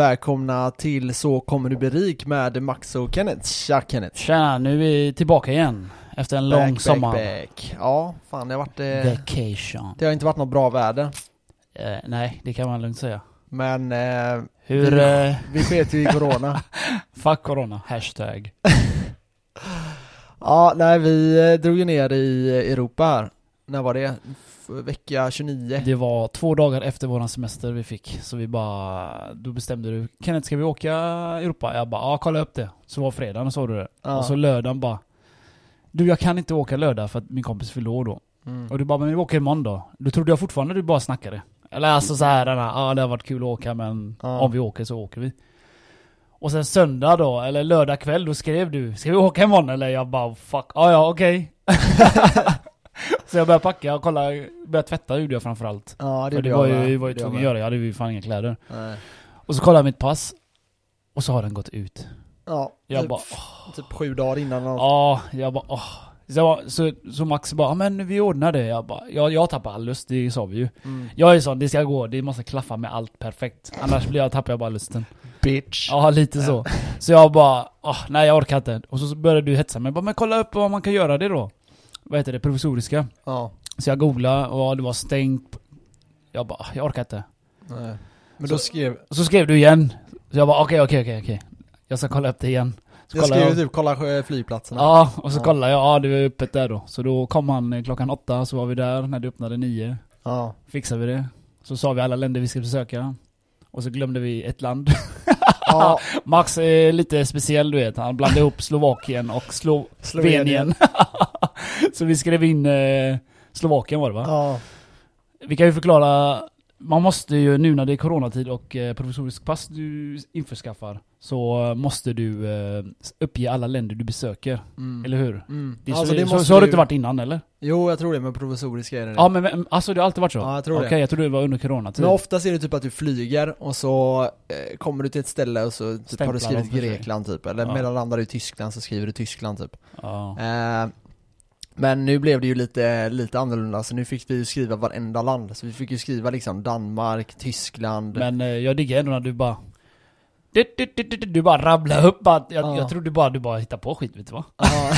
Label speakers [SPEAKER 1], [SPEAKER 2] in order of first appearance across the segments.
[SPEAKER 1] Välkomna till Så kommer du bli rik med Max och Kenneth. Tja Kenneth!
[SPEAKER 2] Tja, nu är vi tillbaka igen. Efter en lång
[SPEAKER 1] Back,
[SPEAKER 2] sommar.
[SPEAKER 1] Back, back. Ja, fan det har varit... Eh,
[SPEAKER 2] Vacation.
[SPEAKER 1] det har inte varit något bra väder.
[SPEAKER 2] Eh, nej, det kan man lugnt säga.
[SPEAKER 1] Men eh,
[SPEAKER 2] Hur...
[SPEAKER 1] Mm.
[SPEAKER 2] Eh,
[SPEAKER 1] vi sket ju i corona.
[SPEAKER 2] fuck corona. Hashtag.
[SPEAKER 1] ja, nej vi eh, drog ju ner i Europa här. När var det? F- vecka 29?
[SPEAKER 2] Det var två dagar efter våran semester vi fick. Så vi bara... Då bestämde du. Kenneth, ska vi åka Europa? Jag bara, ja kolla upp det. Så var fredagen såg du det.
[SPEAKER 1] Ja.
[SPEAKER 2] Och så lördagen bara. Du, jag kan inte åka lördag för att min kompis fyllde år då.
[SPEAKER 1] Mm.
[SPEAKER 2] Och du bara, men vi åker imorgon då. Då trodde jag fortfarande du bara snackade. Eller alltså så här, den här, ja det har varit kul att åka men
[SPEAKER 1] Ja.
[SPEAKER 2] om vi åker så åker vi. Och sen söndag då, eller lördag kväll, då skrev du, ska vi åka imorgon eller? Jag bara, fuck, ja ja okej. så jag började packa och kolla, började tvätta gjorde jag framförallt.
[SPEAKER 1] Ja, det gjorde
[SPEAKER 2] För det
[SPEAKER 1] jag
[SPEAKER 2] var
[SPEAKER 1] med.
[SPEAKER 2] ju, var ju
[SPEAKER 1] Det gjorde jag
[SPEAKER 2] tvungen att
[SPEAKER 1] med.
[SPEAKER 2] göra, det. jag hade ju fan inga kläder.
[SPEAKER 1] Nej.
[SPEAKER 2] Och så kollade jag mitt pass, och så har den gått ut.
[SPEAKER 1] Ja,
[SPEAKER 2] Jag
[SPEAKER 1] typ,
[SPEAKER 2] bara,
[SPEAKER 1] typ sju dagar innan. eller något.
[SPEAKER 2] Ja, jag bara åh. Så, jag bara- så, så Max bara, "Ja, men vi ordnar det. Jag bara, jag, jag tappar all lust, det sa vi ju.
[SPEAKER 1] Mm.
[SPEAKER 2] Jag är sån, det ska gå, det måste klaffa med allt perfekt. Annars blir jag, tappar jag bara lusten.
[SPEAKER 1] Bitch.
[SPEAKER 2] Ja, lite så. Så jag bara, åh, nej jag orkar inte. Och så började du hetsa mig, Jag bara, men kolla upp om man kan göra det då. Vad heter det, provisoriska.
[SPEAKER 1] Ja.
[SPEAKER 2] Så jag googlade och ja, det var stängt. Jag bara, "Ah, jag orkar inte.
[SPEAKER 1] Nej. Men då
[SPEAKER 2] Så-
[SPEAKER 1] skrev...
[SPEAKER 2] Så skrev du igen. Så jag bara, okej okej okej okej. Jag ska kolla upp det igen. Så
[SPEAKER 1] Jag
[SPEAKER 2] kollade
[SPEAKER 1] skrev ju typ kolla eh, flygplatserna.
[SPEAKER 2] Ja, och så
[SPEAKER 1] Ja.
[SPEAKER 2] kollade jag, ja det var öppet där då. Så då kom han eh, klockan åtta, så var vi där när det öppnade nio.
[SPEAKER 1] ja.
[SPEAKER 2] Fixade vi det. Så sa vi alla länder vi skulle besöka. Och så glömde vi ett land.
[SPEAKER 1] Ja,
[SPEAKER 2] Max är lite speciell du vet, han blandade ihop Slovakien och Slovenien. så vi skrev in eh, Slovakien var det va?
[SPEAKER 1] Ja,
[SPEAKER 2] Vi kan ju förklara, man måste ju nu när det är coronatid och eh, provisorisk pass du införskaffar, så måste du eh, uppge alla länder du besöker.
[SPEAKER 1] mm.
[SPEAKER 2] Eller hur?
[SPEAKER 1] Mm.
[SPEAKER 2] Det är
[SPEAKER 1] Alltså,
[SPEAKER 2] så,
[SPEAKER 1] det
[SPEAKER 2] så,
[SPEAKER 1] måste
[SPEAKER 2] så har
[SPEAKER 1] du-
[SPEAKER 2] det inte varit innan eller?
[SPEAKER 1] Jo, jag tror det, men provisoriskt är det.
[SPEAKER 2] Ja men- men alltså det har alltid varit så?
[SPEAKER 1] Ja, jag tror det.
[SPEAKER 2] Okej, jag trodde det var under coronatid.
[SPEAKER 1] Men ofta är det typ att du flyger och så eh, kommer du till ett ställe och så typ har
[SPEAKER 2] Stämplar
[SPEAKER 1] du
[SPEAKER 2] de
[SPEAKER 1] skrivit
[SPEAKER 2] för sig.
[SPEAKER 1] Grekland typ, eller
[SPEAKER 2] Ja.
[SPEAKER 1] mellanlandar du i Tyskland så skriver du Tyskland typ.
[SPEAKER 2] ja.
[SPEAKER 1] Eh, men nu blev det ju lite, lite annorlunda, så nu fick vi ju skriva varenda land. Så vi fick ju skriva liksom Danmark, Tyskland.
[SPEAKER 2] Men eh, jag diggar ändå när du bara... Du, du, du, du, du, du bara rabblar upp bara, jag,
[SPEAKER 1] Ja.
[SPEAKER 2] jag trodde bara du bara hittade på skit vet du va?
[SPEAKER 1] Ja,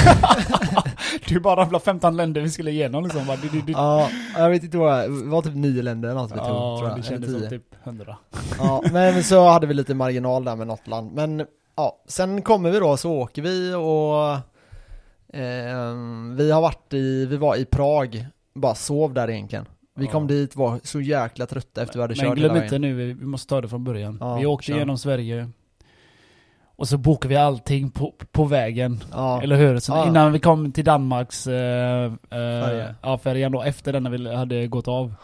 [SPEAKER 2] Du bara rabblar 15 länder vi skulle igenom liksom bara, du, du, du.
[SPEAKER 1] ja, jag vet inte vad, det var typ nio länder eller något vi tog, tror
[SPEAKER 2] Ja,
[SPEAKER 1] jag.
[SPEAKER 2] det
[SPEAKER 1] Eller
[SPEAKER 2] kändes
[SPEAKER 1] tio.
[SPEAKER 2] som typ 100.
[SPEAKER 1] Ja, men så hade vi lite marginal där med något land. Men ja, sen kommer vi då så åker vi och eh, vi har varit i, vi var i Prag, bara sov där egentligen. Vi
[SPEAKER 2] Ja.
[SPEAKER 1] kom dit, var så jäkla trötta efter vi hade
[SPEAKER 2] Men
[SPEAKER 1] kört hela
[SPEAKER 2] glöm
[SPEAKER 1] vägen.
[SPEAKER 2] inte nu, vi- vi måste ta det från början.
[SPEAKER 1] Ja,
[SPEAKER 2] vi åkte
[SPEAKER 1] kör.
[SPEAKER 2] igenom Sverige. Och så bokade vi allting på, på vägen.
[SPEAKER 1] Ja,
[SPEAKER 2] Eller hur? Så
[SPEAKER 1] Ja.
[SPEAKER 2] Innan vi kom till Danmarks eh, eh,
[SPEAKER 1] Färja.
[SPEAKER 2] ja, färjan då, efter den när vi hade gått av.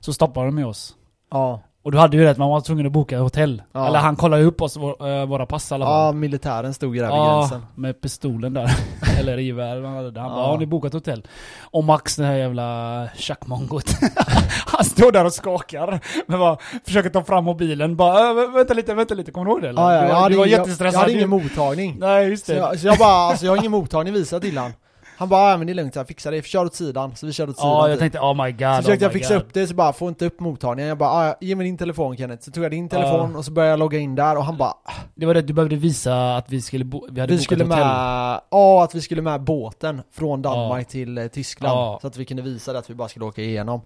[SPEAKER 2] Så stoppade de med oss.
[SPEAKER 1] ja.
[SPEAKER 2] Och du hade ju rätt, man var tvungen att boka hotell.
[SPEAKER 1] Ja.
[SPEAKER 2] Eller han kollade upp oss, vår, eh, våra pass i alla
[SPEAKER 1] ja,
[SPEAKER 2] fall.
[SPEAKER 1] militären stod ju där vid gränsen.
[SPEAKER 2] med pistolen där. Eller gevär han hade där. Han
[SPEAKER 1] Ja.
[SPEAKER 2] bara, har ni bokat hotell? Och Max, den här jävla tjackmongot. han står där och skakar. Men bara, försöker ta fram mobilen. Bara, "Äh, vä- vänta lite, vänta lite. Kommer du ihåg det eller?
[SPEAKER 1] Ja, ja,
[SPEAKER 2] du,
[SPEAKER 1] jag,
[SPEAKER 2] var-
[SPEAKER 1] hade
[SPEAKER 2] du var
[SPEAKER 1] ingen- jag
[SPEAKER 2] jättestressad.
[SPEAKER 1] hade ingen
[SPEAKER 2] Du- Typ.
[SPEAKER 1] mottagning.
[SPEAKER 2] Nej, just
[SPEAKER 1] Så
[SPEAKER 2] det.
[SPEAKER 1] jag, så jag bara, alltså jag har ingen mottagning, visa till han. Han bara, ja men det är lugnt, jag fixar det, kör åt sidan. Så vi körde åt sidan.
[SPEAKER 2] Ja,
[SPEAKER 1] typ.
[SPEAKER 2] jag tänkte oh my god.
[SPEAKER 1] Så försökte
[SPEAKER 2] oh
[SPEAKER 1] jag
[SPEAKER 2] my
[SPEAKER 1] fixa
[SPEAKER 2] god.
[SPEAKER 1] upp det, så bara får inte upp mottagningen. Jag bara, ah, ge mig din telefon Kenneth. Så tog
[SPEAKER 2] Ah.
[SPEAKER 1] jag din telefon och så började jag logga in där och han bara, ah,
[SPEAKER 2] Det var det, du behövde visa att vi skulle bo, vi hade
[SPEAKER 1] vi
[SPEAKER 2] bokat
[SPEAKER 1] skulle med,
[SPEAKER 2] hotell.
[SPEAKER 1] ja att vi skulle med båten från Danmark
[SPEAKER 2] Ja.
[SPEAKER 1] till eh, Tyskland.
[SPEAKER 2] Ja.
[SPEAKER 1] Så att vi kunde visa det att vi bara skulle åka igenom.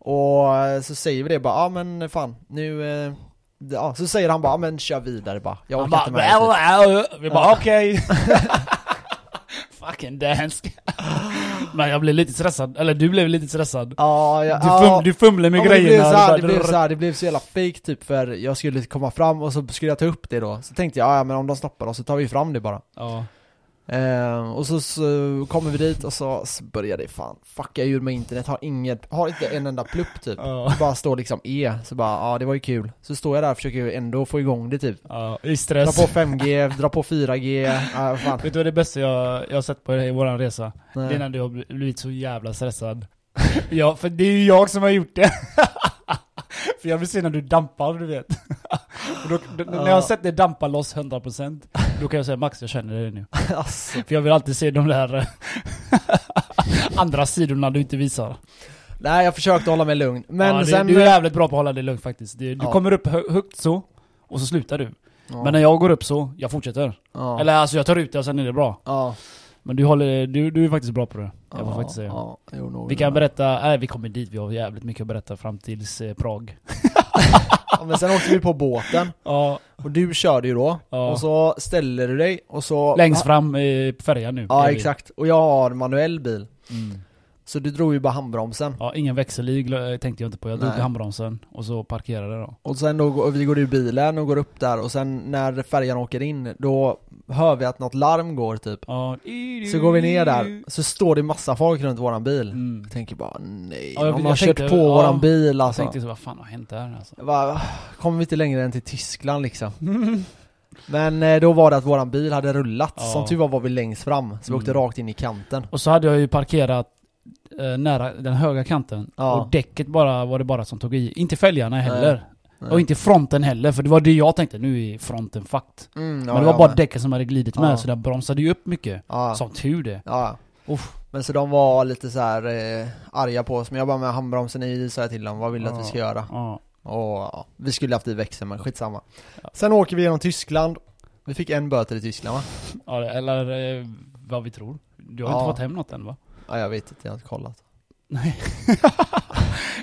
[SPEAKER 1] Och eh, så säger vi det bara, ja ah, men fan nu, eh, det- ja så säger han bara, ah, men kör vidare bara. Jag
[SPEAKER 2] Han
[SPEAKER 1] orkar inte
[SPEAKER 2] bara,
[SPEAKER 1] med det. typ."
[SPEAKER 2] well, well. Vi bara okej. Fucking dansk. Men jag blev lite stressad, eller du blev lite stressad.
[SPEAKER 1] Ja,
[SPEAKER 2] Du,
[SPEAKER 1] jag,
[SPEAKER 2] fum, du fumlade med
[SPEAKER 1] Ja, men det blev,
[SPEAKER 2] grejerna.
[SPEAKER 1] så
[SPEAKER 2] Du bara,
[SPEAKER 1] här, det, blev så här, det blev så jävla fake typ för jag skulle komma fram och så skulle jag ta upp det då Så tänkte jag, "Ah, ja men om de stoppar oss så tar vi fram det bara
[SPEAKER 2] Ja.
[SPEAKER 1] Eh, och så, så kommer vi dit och så så börjar det fan fucka ur med internet, har inget, har inte en enda plupp typ.
[SPEAKER 2] Ja.
[SPEAKER 1] Bara står liksom E, så bara ja ah, det var ju kul. Så står jag där och försöker ju ändå få igång det typ.
[SPEAKER 2] ja, i
[SPEAKER 1] Dra
[SPEAKER 2] stress.
[SPEAKER 1] på 5G, dra på 4G, ah, fan.
[SPEAKER 2] Vet du vad det bästa jag, jag har sett på i våran resa? Det är
[SPEAKER 1] Nej.
[SPEAKER 2] när du har bl- blivit så jävla stressad. ja, för det är ju jag som har gjort det. för jag vill se när du dampar, du vet. Och då, då, När jag har sett dig dampa loss 100% Då kan jag säga Max, jag känner dig nu.
[SPEAKER 1] Alltså.
[SPEAKER 2] För jag vill alltid se de där andra sidorna du inte visar.
[SPEAKER 1] Nej jag försökte hålla mig lugn, men
[SPEAKER 2] ja, du,
[SPEAKER 1] sen...
[SPEAKER 2] du är jävligt bra på att hålla dig lugn faktiskt. Du, du
[SPEAKER 1] Ja.
[SPEAKER 2] kommer upp hö- högt så, och så slutar du.
[SPEAKER 1] Ja.
[SPEAKER 2] Men när jag går upp så, jag fortsätter.
[SPEAKER 1] ja.
[SPEAKER 2] Eller alltså jag tar ut det och sen är det bra.
[SPEAKER 1] Ja.
[SPEAKER 2] Men du, håller, du, du är faktiskt bra på det. Jag får
[SPEAKER 1] ja,
[SPEAKER 2] faktiskt säga.
[SPEAKER 1] Ja, jo, nog
[SPEAKER 2] Vi kan berätta, nej vi kommer dit, vi har jävligt mycket att berätta fram tills eh, Prag.
[SPEAKER 1] ja, Men sen åkte vi på båten
[SPEAKER 2] Ja,
[SPEAKER 1] och du körde ju då
[SPEAKER 2] Ja.
[SPEAKER 1] och så ställer du dig och så
[SPEAKER 2] längst fram eh, på färjan nu. är
[SPEAKER 1] Ja
[SPEAKER 2] vi.
[SPEAKER 1] exakt, och jag har manuell bil
[SPEAKER 2] Mm.
[SPEAKER 1] Så du drog ju bara handbromsen
[SPEAKER 2] Ja, ingen växellig gl- tänkte jag inte på. Jag drog
[SPEAKER 1] Nej.
[SPEAKER 2] i handbromsen och så parkerade jag då.
[SPEAKER 1] Och sen då, går- och vi går ur bilen och går upp där och sen när färjan åker in då hör vi att något larm går typ
[SPEAKER 2] Ja.
[SPEAKER 1] Så går vi ner där, så står det massa folk runt våran bil
[SPEAKER 2] Mm.
[SPEAKER 1] Jag tänker bara nej,
[SPEAKER 2] Ja, jag-
[SPEAKER 1] någon
[SPEAKER 2] jag
[SPEAKER 1] har kört
[SPEAKER 2] tänkte-
[SPEAKER 1] på
[SPEAKER 2] ja,
[SPEAKER 1] våran bil
[SPEAKER 2] Jag
[SPEAKER 1] alltså
[SPEAKER 2] tänkte så, vad fan har hänt där alltså?
[SPEAKER 1] Jag bara, "Ah, Kommer vi inte längre än till Tyskland liksom Men eh, då var det att våran bil hade rullat,
[SPEAKER 2] Ja.
[SPEAKER 1] som tur var var vi längst fram så vi åkte
[SPEAKER 2] Mm.
[SPEAKER 1] rakt in i kanten
[SPEAKER 2] Och så hade jag ju parkerat eh, nära den höga kanten.
[SPEAKER 1] Ja.
[SPEAKER 2] Och däcket bara, var det bara som tog i. Inte fälgarna heller.
[SPEAKER 1] Nej.
[SPEAKER 2] Och inte fronten heller, för det var det jag tänkte. Nu är fronten fucked.
[SPEAKER 1] Mm, ja,
[SPEAKER 2] Men det
[SPEAKER 1] jag
[SPEAKER 2] var bara
[SPEAKER 1] med.
[SPEAKER 2] däcken som hade glidit med,
[SPEAKER 1] Ja.
[SPEAKER 2] så den bromsade ju upp mycket.
[SPEAKER 1] ja.
[SPEAKER 2] Som tur det.
[SPEAKER 1] Ja.
[SPEAKER 2] Uff.
[SPEAKER 1] Men så de var lite så här eh, arga på oss, men jag bara med handbromsen i sa jag till dem, vad vill du att vi ska göra?
[SPEAKER 2] Ja.
[SPEAKER 1] Och ja, vi skulle haft i växeln men skitsamma. Sen åker vi genom Tyskland, vi fick en böter i Tyskland va?
[SPEAKER 2] Ja, eller eh, vad vi tror. Du har
[SPEAKER 1] Ja.
[SPEAKER 2] inte fått hem något än va?
[SPEAKER 1] Ja jag vet inte, jag har inte kollat.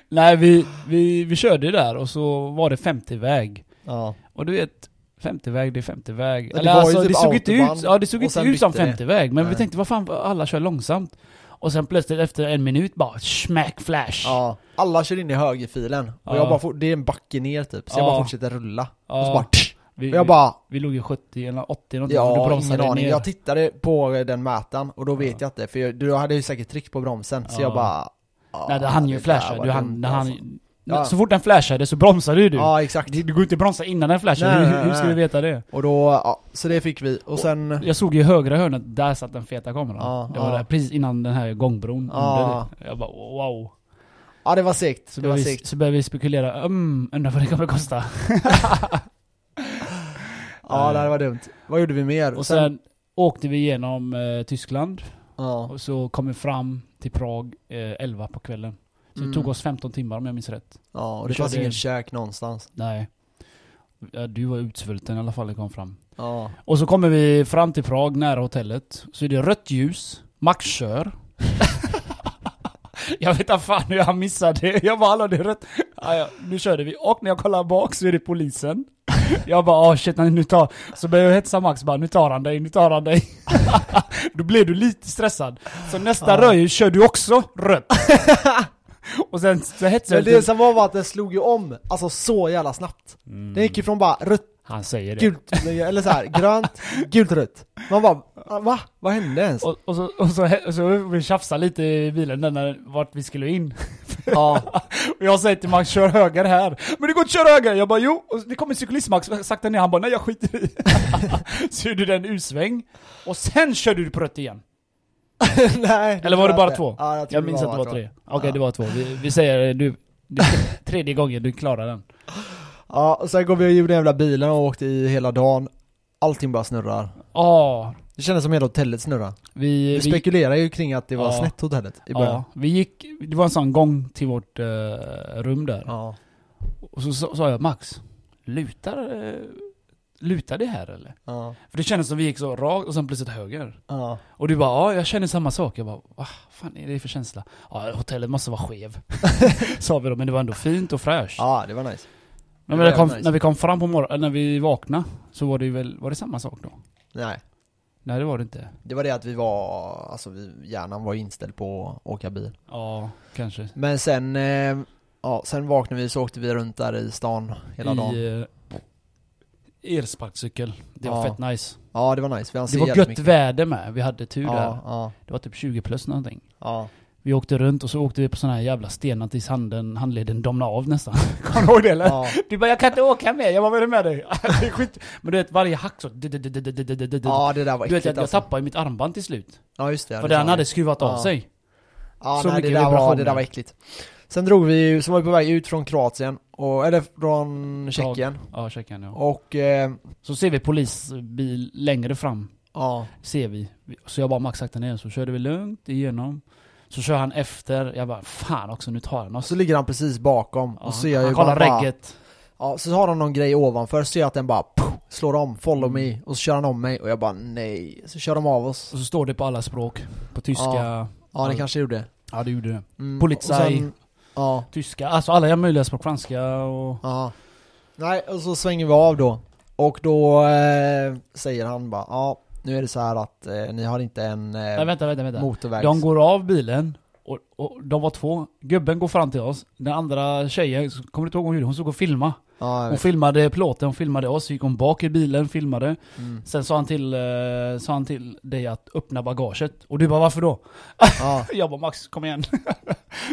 [SPEAKER 2] Nej, vi, vi, vi körde ju där och så var det 50-väg.
[SPEAKER 1] Ja,
[SPEAKER 2] Och du vet, 50-väg, det är 50-väg.
[SPEAKER 1] det
[SPEAKER 2] Eller
[SPEAKER 1] var ju
[SPEAKER 2] alltså,
[SPEAKER 1] typ
[SPEAKER 2] det såg inte
[SPEAKER 1] autobahn.
[SPEAKER 2] ut, ja, det såg
[SPEAKER 1] Och
[SPEAKER 2] inte
[SPEAKER 1] sen
[SPEAKER 2] ut som
[SPEAKER 1] bytte det.
[SPEAKER 2] 50-väg. Men vi
[SPEAKER 1] Nej.
[SPEAKER 2] tänkte, vad fan, alla kör långsamt. Och sen plötsligt efter en minut bara smack flash.
[SPEAKER 1] ja. alla kör in i högerfilen och
[SPEAKER 2] Ja.
[SPEAKER 1] jag bara, får, det är en backe ner typ, så jag
[SPEAKER 2] Ja.
[SPEAKER 1] bara fortsätter rulla.
[SPEAKER 2] Ja,
[SPEAKER 1] Och så bara, tsch!
[SPEAKER 2] vi,
[SPEAKER 1] och jag bara,
[SPEAKER 2] vi, vi låg i 70 eller 80 någonting. och du
[SPEAKER 1] ja
[SPEAKER 2] bromsade
[SPEAKER 1] ingen aning.
[SPEAKER 2] ner.
[SPEAKER 1] Jag tittade på eh, den mätaren och då vet
[SPEAKER 2] Ja.
[SPEAKER 1] jag inte, för jag, du hade ju säkert tryck på bromsen, så
[SPEAKER 2] Ja.
[SPEAKER 1] jag bara ja,
[SPEAKER 2] Nej, det hann ju
[SPEAKER 1] där
[SPEAKER 2] flasha.
[SPEAKER 1] var
[SPEAKER 2] Du hann,
[SPEAKER 1] dumt,
[SPEAKER 2] det hann,
[SPEAKER 1] alltså. Ja.
[SPEAKER 2] Så fort den flashade så bromsade ju du.
[SPEAKER 1] Ja exakt.
[SPEAKER 2] Det, det går ju inte att bromsa innan den flashar.
[SPEAKER 1] Nej,
[SPEAKER 2] hur,
[SPEAKER 1] nej,
[SPEAKER 2] hur ska
[SPEAKER 1] nej.
[SPEAKER 2] vi veta det?
[SPEAKER 1] Och då, ja, så det fick vi. Och sen,
[SPEAKER 2] Jag såg ju i högra hörnet, där satt den feta kameran.
[SPEAKER 1] Ja,
[SPEAKER 2] det var
[SPEAKER 1] ja.
[SPEAKER 2] där precis innan den här gångbron.
[SPEAKER 1] Ja.
[SPEAKER 2] under. Jag bara wow.
[SPEAKER 1] ja det var segt.
[SPEAKER 2] Så
[SPEAKER 1] det var
[SPEAKER 2] började, vi,
[SPEAKER 1] segt.
[SPEAKER 2] så började vi spekulera, um, undrar vad det kommer kosta.
[SPEAKER 1] Ja det här var dumt. Vad gjorde vi mer?
[SPEAKER 2] Och sen, åkte vi igenom eh, Tyskland.
[SPEAKER 1] ja.
[SPEAKER 2] Och så kom vi fram till Prag eh, 11 på kvällen. Så
[SPEAKER 1] Mm.
[SPEAKER 2] det tog oss 15 timmar om jag minns rätt.
[SPEAKER 1] ja, och
[SPEAKER 2] vi
[SPEAKER 1] det fanns
[SPEAKER 2] körde-
[SPEAKER 1] ingen käk någonstans.
[SPEAKER 2] Nej. Ja, du var utsvulten i alla fall när vi kom fram.
[SPEAKER 1] Ja.
[SPEAKER 2] Och så kommer vi fram till Prag, nära hotellet. Så är det rött ljus, Max kör. jag vet inte fan hur han missade det. Jag bara hallå det är rött. Ja, ja, nu körde vi. Och när jag kollar bak så är det polisen. Jag bara ah shit, nej, nu tar... Så började jag hetsa Max bara nu tar han dig, nu tar han dig. Då blev du lite stressad. Så nästa
[SPEAKER 1] Ja.
[SPEAKER 2] rödljus kör du också rött. Och sen så hetsade
[SPEAKER 1] Men
[SPEAKER 2] jag
[SPEAKER 1] det
[SPEAKER 2] lite.
[SPEAKER 1] som var var att den slog ju om, alltså så jävla snabbt. Den gick ju från bara rött,
[SPEAKER 2] Mm. Han säger det.
[SPEAKER 1] gult, eller så här, grönt, gult, rött. Man bara, "Ah, va? Vad hände ens?
[SPEAKER 2] Och, och, så, och, så, och så vi tjafsade lite i bilen där när, vart vi skulle in.
[SPEAKER 1] Ja,
[SPEAKER 2] Och jag säger till Max, kör höger här. Men det går inte att köra höger! Jag bara, jo! Och det kommer en cyklist Max, sakta ner. Han bara, nej jag skiter i. så gjorde den U-sväng. Och sen körde du på rött igen.
[SPEAKER 1] nej.
[SPEAKER 2] Eller var
[SPEAKER 1] tror
[SPEAKER 2] det
[SPEAKER 1] jag
[SPEAKER 2] bara
[SPEAKER 1] inte.
[SPEAKER 2] två?
[SPEAKER 1] Ja, jag, tror
[SPEAKER 2] Jag minns att det var tre. Okej,
[SPEAKER 1] Ja.
[SPEAKER 2] det var två. Vi, vi säger, du, det är tredje gången du klarar den.
[SPEAKER 1] Ja, och sen går vi och gjorde den jävla bilen och åkte i hela dagen. Allting bara snurrar.
[SPEAKER 2] Ja,
[SPEAKER 1] Det kändes som hela hotellet snurrar.
[SPEAKER 2] vi...
[SPEAKER 1] Vi spekulerar ju kring att det var
[SPEAKER 2] Ja.
[SPEAKER 1] snett hotellet i början.
[SPEAKER 2] ja, vi gick, det var en sån gång till vårt eh, rum där.
[SPEAKER 1] Ja.
[SPEAKER 2] Och så sa sa jag, Max, lutar, eh, lutar det här eller?
[SPEAKER 1] Ja.
[SPEAKER 2] För det kändes som vi gick så rakt och sen plötsligt höger.
[SPEAKER 1] Ja.
[SPEAKER 2] Och du bara ja, jag känner samma sak. Jag bara vad fan är det för känsla? Ja, hotellet måste vara skev. Sa vi då, men det var ändå fint och fräscht.
[SPEAKER 1] ja, det var nice.
[SPEAKER 2] men
[SPEAKER 1] det var
[SPEAKER 2] när, det kom,
[SPEAKER 1] nice.
[SPEAKER 2] när vi kom fram på morgonen, när vi vaknade, så var det ju väl, var det samma sak då?
[SPEAKER 1] Nej,
[SPEAKER 2] Nej det var det inte.
[SPEAKER 1] det var det att vi var, alltså vi, hjärnan var inställd på att åka bil.
[SPEAKER 2] Ja, kanske.
[SPEAKER 1] Men sen, eh, ja, sen vaknade vi så åkte vi runt där i stan hela dagen.
[SPEAKER 2] I eh, elsparkcykel. Det var
[SPEAKER 1] Ja.
[SPEAKER 2] fett nice.
[SPEAKER 1] Ja, det var nice. Vi hann
[SPEAKER 2] Det
[SPEAKER 1] se
[SPEAKER 2] var
[SPEAKER 1] jävligt
[SPEAKER 2] gött
[SPEAKER 1] mycket.
[SPEAKER 2] väder med, vi hade tur där.
[SPEAKER 1] Ja, ja,
[SPEAKER 2] Det var typ 20 plus någonting.
[SPEAKER 1] ja.
[SPEAKER 2] Vi åkte runt och så åkte vi på såna här jävla stenar tills handen, handleden domnade av nästan. Kommer du ihåg det eller?
[SPEAKER 1] ja.
[SPEAKER 2] Du bara 'Jag kan inte åka med' jag bara 'Vad är det med dig?' det är skit. Men du vet varje hack så... Du vet
[SPEAKER 1] Ja, det där var
[SPEAKER 2] jag,
[SPEAKER 1] äckligt
[SPEAKER 2] jag
[SPEAKER 1] alltså.
[SPEAKER 2] tappade ju mitt armband till slut.
[SPEAKER 1] Ja, just det. ja,
[SPEAKER 2] För
[SPEAKER 1] det
[SPEAKER 2] den
[SPEAKER 1] sa
[SPEAKER 2] hade
[SPEAKER 1] vi.
[SPEAKER 2] skruvat av
[SPEAKER 1] Ja.
[SPEAKER 2] sig.
[SPEAKER 1] Ja,
[SPEAKER 2] så
[SPEAKER 1] nej, det
[SPEAKER 2] mycket
[SPEAKER 1] där, var, det där
[SPEAKER 2] vibrationer.
[SPEAKER 1] var äckligt. Sen drog vi ju, så var vi på väg ut från Kroatien, och, eller från Tjeckien.
[SPEAKER 2] Ja, Tjeckien ja.
[SPEAKER 1] Och, eh,
[SPEAKER 2] Så ser vi polisbil längre fram.
[SPEAKER 1] ja.
[SPEAKER 2] Ser vi. Så jag bara max sakta ner. Så körde vi lugnt igenom. Så kör han efter. Jag bara 'Fan också, nu tar han oss'
[SPEAKER 1] Så ligger han precis bakom
[SPEAKER 2] Ja,
[SPEAKER 1] och ser jag
[SPEAKER 2] han
[SPEAKER 1] ju
[SPEAKER 2] kollar
[SPEAKER 1] bara,
[SPEAKER 2] regget.
[SPEAKER 1] Ja, så har de någon grej ovanför, så ser jag att den bara poff, slår om, follow
[SPEAKER 2] Mm.
[SPEAKER 1] me, och så kör han om mig och jag bara nej. Så kör de av oss.
[SPEAKER 2] Och så står det på alla språk. På tyska.
[SPEAKER 1] Ja.
[SPEAKER 2] Ja,
[SPEAKER 1] Ja, det
[SPEAKER 2] Ja.
[SPEAKER 1] kanske gjorde.
[SPEAKER 2] det gjorde det.
[SPEAKER 1] Mm,
[SPEAKER 2] Polizei.
[SPEAKER 1] och sen- Ja,
[SPEAKER 2] Tyska, alltså alla möjliga språk. Franska och...
[SPEAKER 1] ja. Nej, och så svänger vi av då. Och då eh, säger han bara, ja, nu är det så här att eh, ni har inte en
[SPEAKER 2] Nej
[SPEAKER 1] eh,
[SPEAKER 2] vänta, vänta, vänta.
[SPEAKER 1] motorvägs...
[SPEAKER 2] De går av bilen och, och de var två. Gubben går fram till oss. Den andra tjejen, så kommer du inte ihåg hon gjorde? Hon stod och filmade.
[SPEAKER 1] Ja, jag
[SPEAKER 2] Hon
[SPEAKER 1] vet.
[SPEAKER 2] filmade plåten, hon filmade oss, så gick hon bak i bilen, filmade.
[SPEAKER 1] Mm.
[SPEAKER 2] Sen sa han till, eh, sa han till dig att öppna bagaget. Och du bara varför då?
[SPEAKER 1] Ja.
[SPEAKER 2] Jag bara Max, kom igen.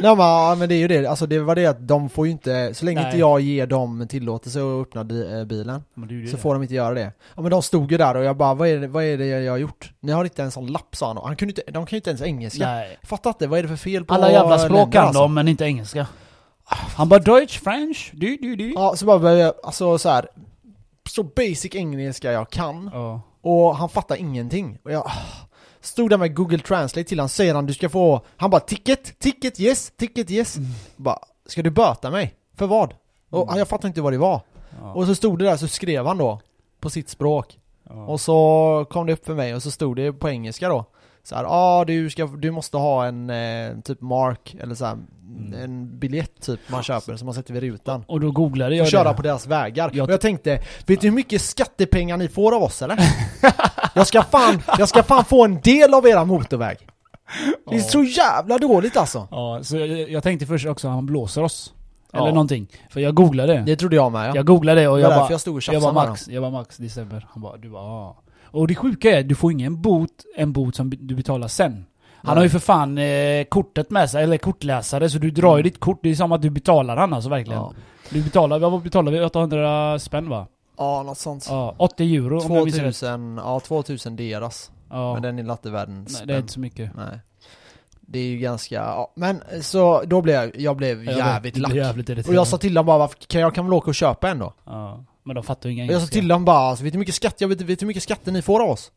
[SPEAKER 1] Nej, men, ja, men det är ju det. Alltså det var det att de får ju inte, så länge
[SPEAKER 2] Nej.
[SPEAKER 1] inte jag ger dem tillåtelse att öppna di- eh, bilen
[SPEAKER 2] Men du,
[SPEAKER 1] så får de inte göra det. Ja men de stod ju där och jag bara, vad är det, vad är det jag har gjort? Ni har inte en sån lapp sa han. Och han kunde inte, de kan ju inte ens engelska.
[SPEAKER 2] Nej.
[SPEAKER 1] Fattar inte, vad är det för fel på
[SPEAKER 2] Alla jävla språk
[SPEAKER 1] länder,
[SPEAKER 2] kan
[SPEAKER 1] alltså?
[SPEAKER 2] de, men inte engelska. Han bara Deutsch, French, du, du, du.
[SPEAKER 1] Ja, så bara började jag, alltså så här så basic engelska jag kan
[SPEAKER 2] Ja.
[SPEAKER 1] och han fattar ingenting. Och jag ah. stod där med Google Translate till han säger han du ska få, han bara ticket, ticket yes, ticket yes. Bara, ska du böta mig? För vad? Och
[SPEAKER 2] Mm.
[SPEAKER 1] jag fattar inte vad det var.
[SPEAKER 2] Ja.
[SPEAKER 1] Och så stod det där så skrev han då på sitt språk.
[SPEAKER 2] Ja.
[SPEAKER 1] Och så kom det upp för mig och så stod det på engelska då. Så här, ah, du, ska, du måste ha en eh, typ mark eller så här,
[SPEAKER 2] Mm.
[SPEAKER 1] en biljett typ man köper som man sätter vid rutan
[SPEAKER 2] Och då googlade
[SPEAKER 1] och
[SPEAKER 2] jag
[SPEAKER 1] köra
[SPEAKER 2] det.
[SPEAKER 1] på deras vägar.
[SPEAKER 2] Jag
[SPEAKER 1] och jag tänkte, vet du hur mycket skattepengar ni får av oss eller? jag, ska fan, jag ska fan få en del av era motorväg. Det är
[SPEAKER 2] Ja.
[SPEAKER 1] så jävla dåligt alltså.
[SPEAKER 2] Ja, så jag, jag tänkte först också att han blåser oss. Eller
[SPEAKER 1] Ja.
[SPEAKER 2] någonting. För jag googlade det.
[SPEAKER 1] Det trodde jag med ja.
[SPEAKER 2] Jag googlade det och
[SPEAKER 1] det var
[SPEAKER 2] jag
[SPEAKER 1] därför
[SPEAKER 2] bara,
[SPEAKER 1] jag stod och
[SPEAKER 2] jag
[SPEAKER 1] tjafsade
[SPEAKER 2] bara
[SPEAKER 1] med dem.
[SPEAKER 2] Max, jag bara Max, december. Han bara, du bara ah. Och det sjuka är, du får ingen bot, en bot som du betalar sen. Han
[SPEAKER 1] Nej.
[SPEAKER 2] har ju för fan eh, kortet med sig, eller kortläsare, så du drar ju ditt kort. Det är som att du betalar han alltså verkligen.
[SPEAKER 1] Mm. Ja.
[SPEAKER 2] Du betalar, vad betalar vi? 800 spänn va?
[SPEAKER 1] ja, något sånt.
[SPEAKER 2] Ja, 80 euro om jag minns rätt.
[SPEAKER 1] 2000, ja 2000 deras.
[SPEAKER 2] Ja,
[SPEAKER 1] Men den är latte världens
[SPEAKER 2] nej,
[SPEAKER 1] spänn.
[SPEAKER 2] det är inte så mycket.
[SPEAKER 1] Nej. Det är ju ganska, ja. men så då blev jag, jag blev
[SPEAKER 2] Jag
[SPEAKER 1] jävligt
[SPEAKER 2] vet, det
[SPEAKER 1] lack.
[SPEAKER 2] blir jävligt irriterande.
[SPEAKER 1] Och jag sa till dem bara, "Varför- kan jag kan väl åka och köpa en då?
[SPEAKER 2] ja, men de fattar ju inga
[SPEAKER 1] Och Jag sa till honom bara, alltså, vet du hur mycket skatt, jag vet, vet du hur mycket skatter ni får av oss?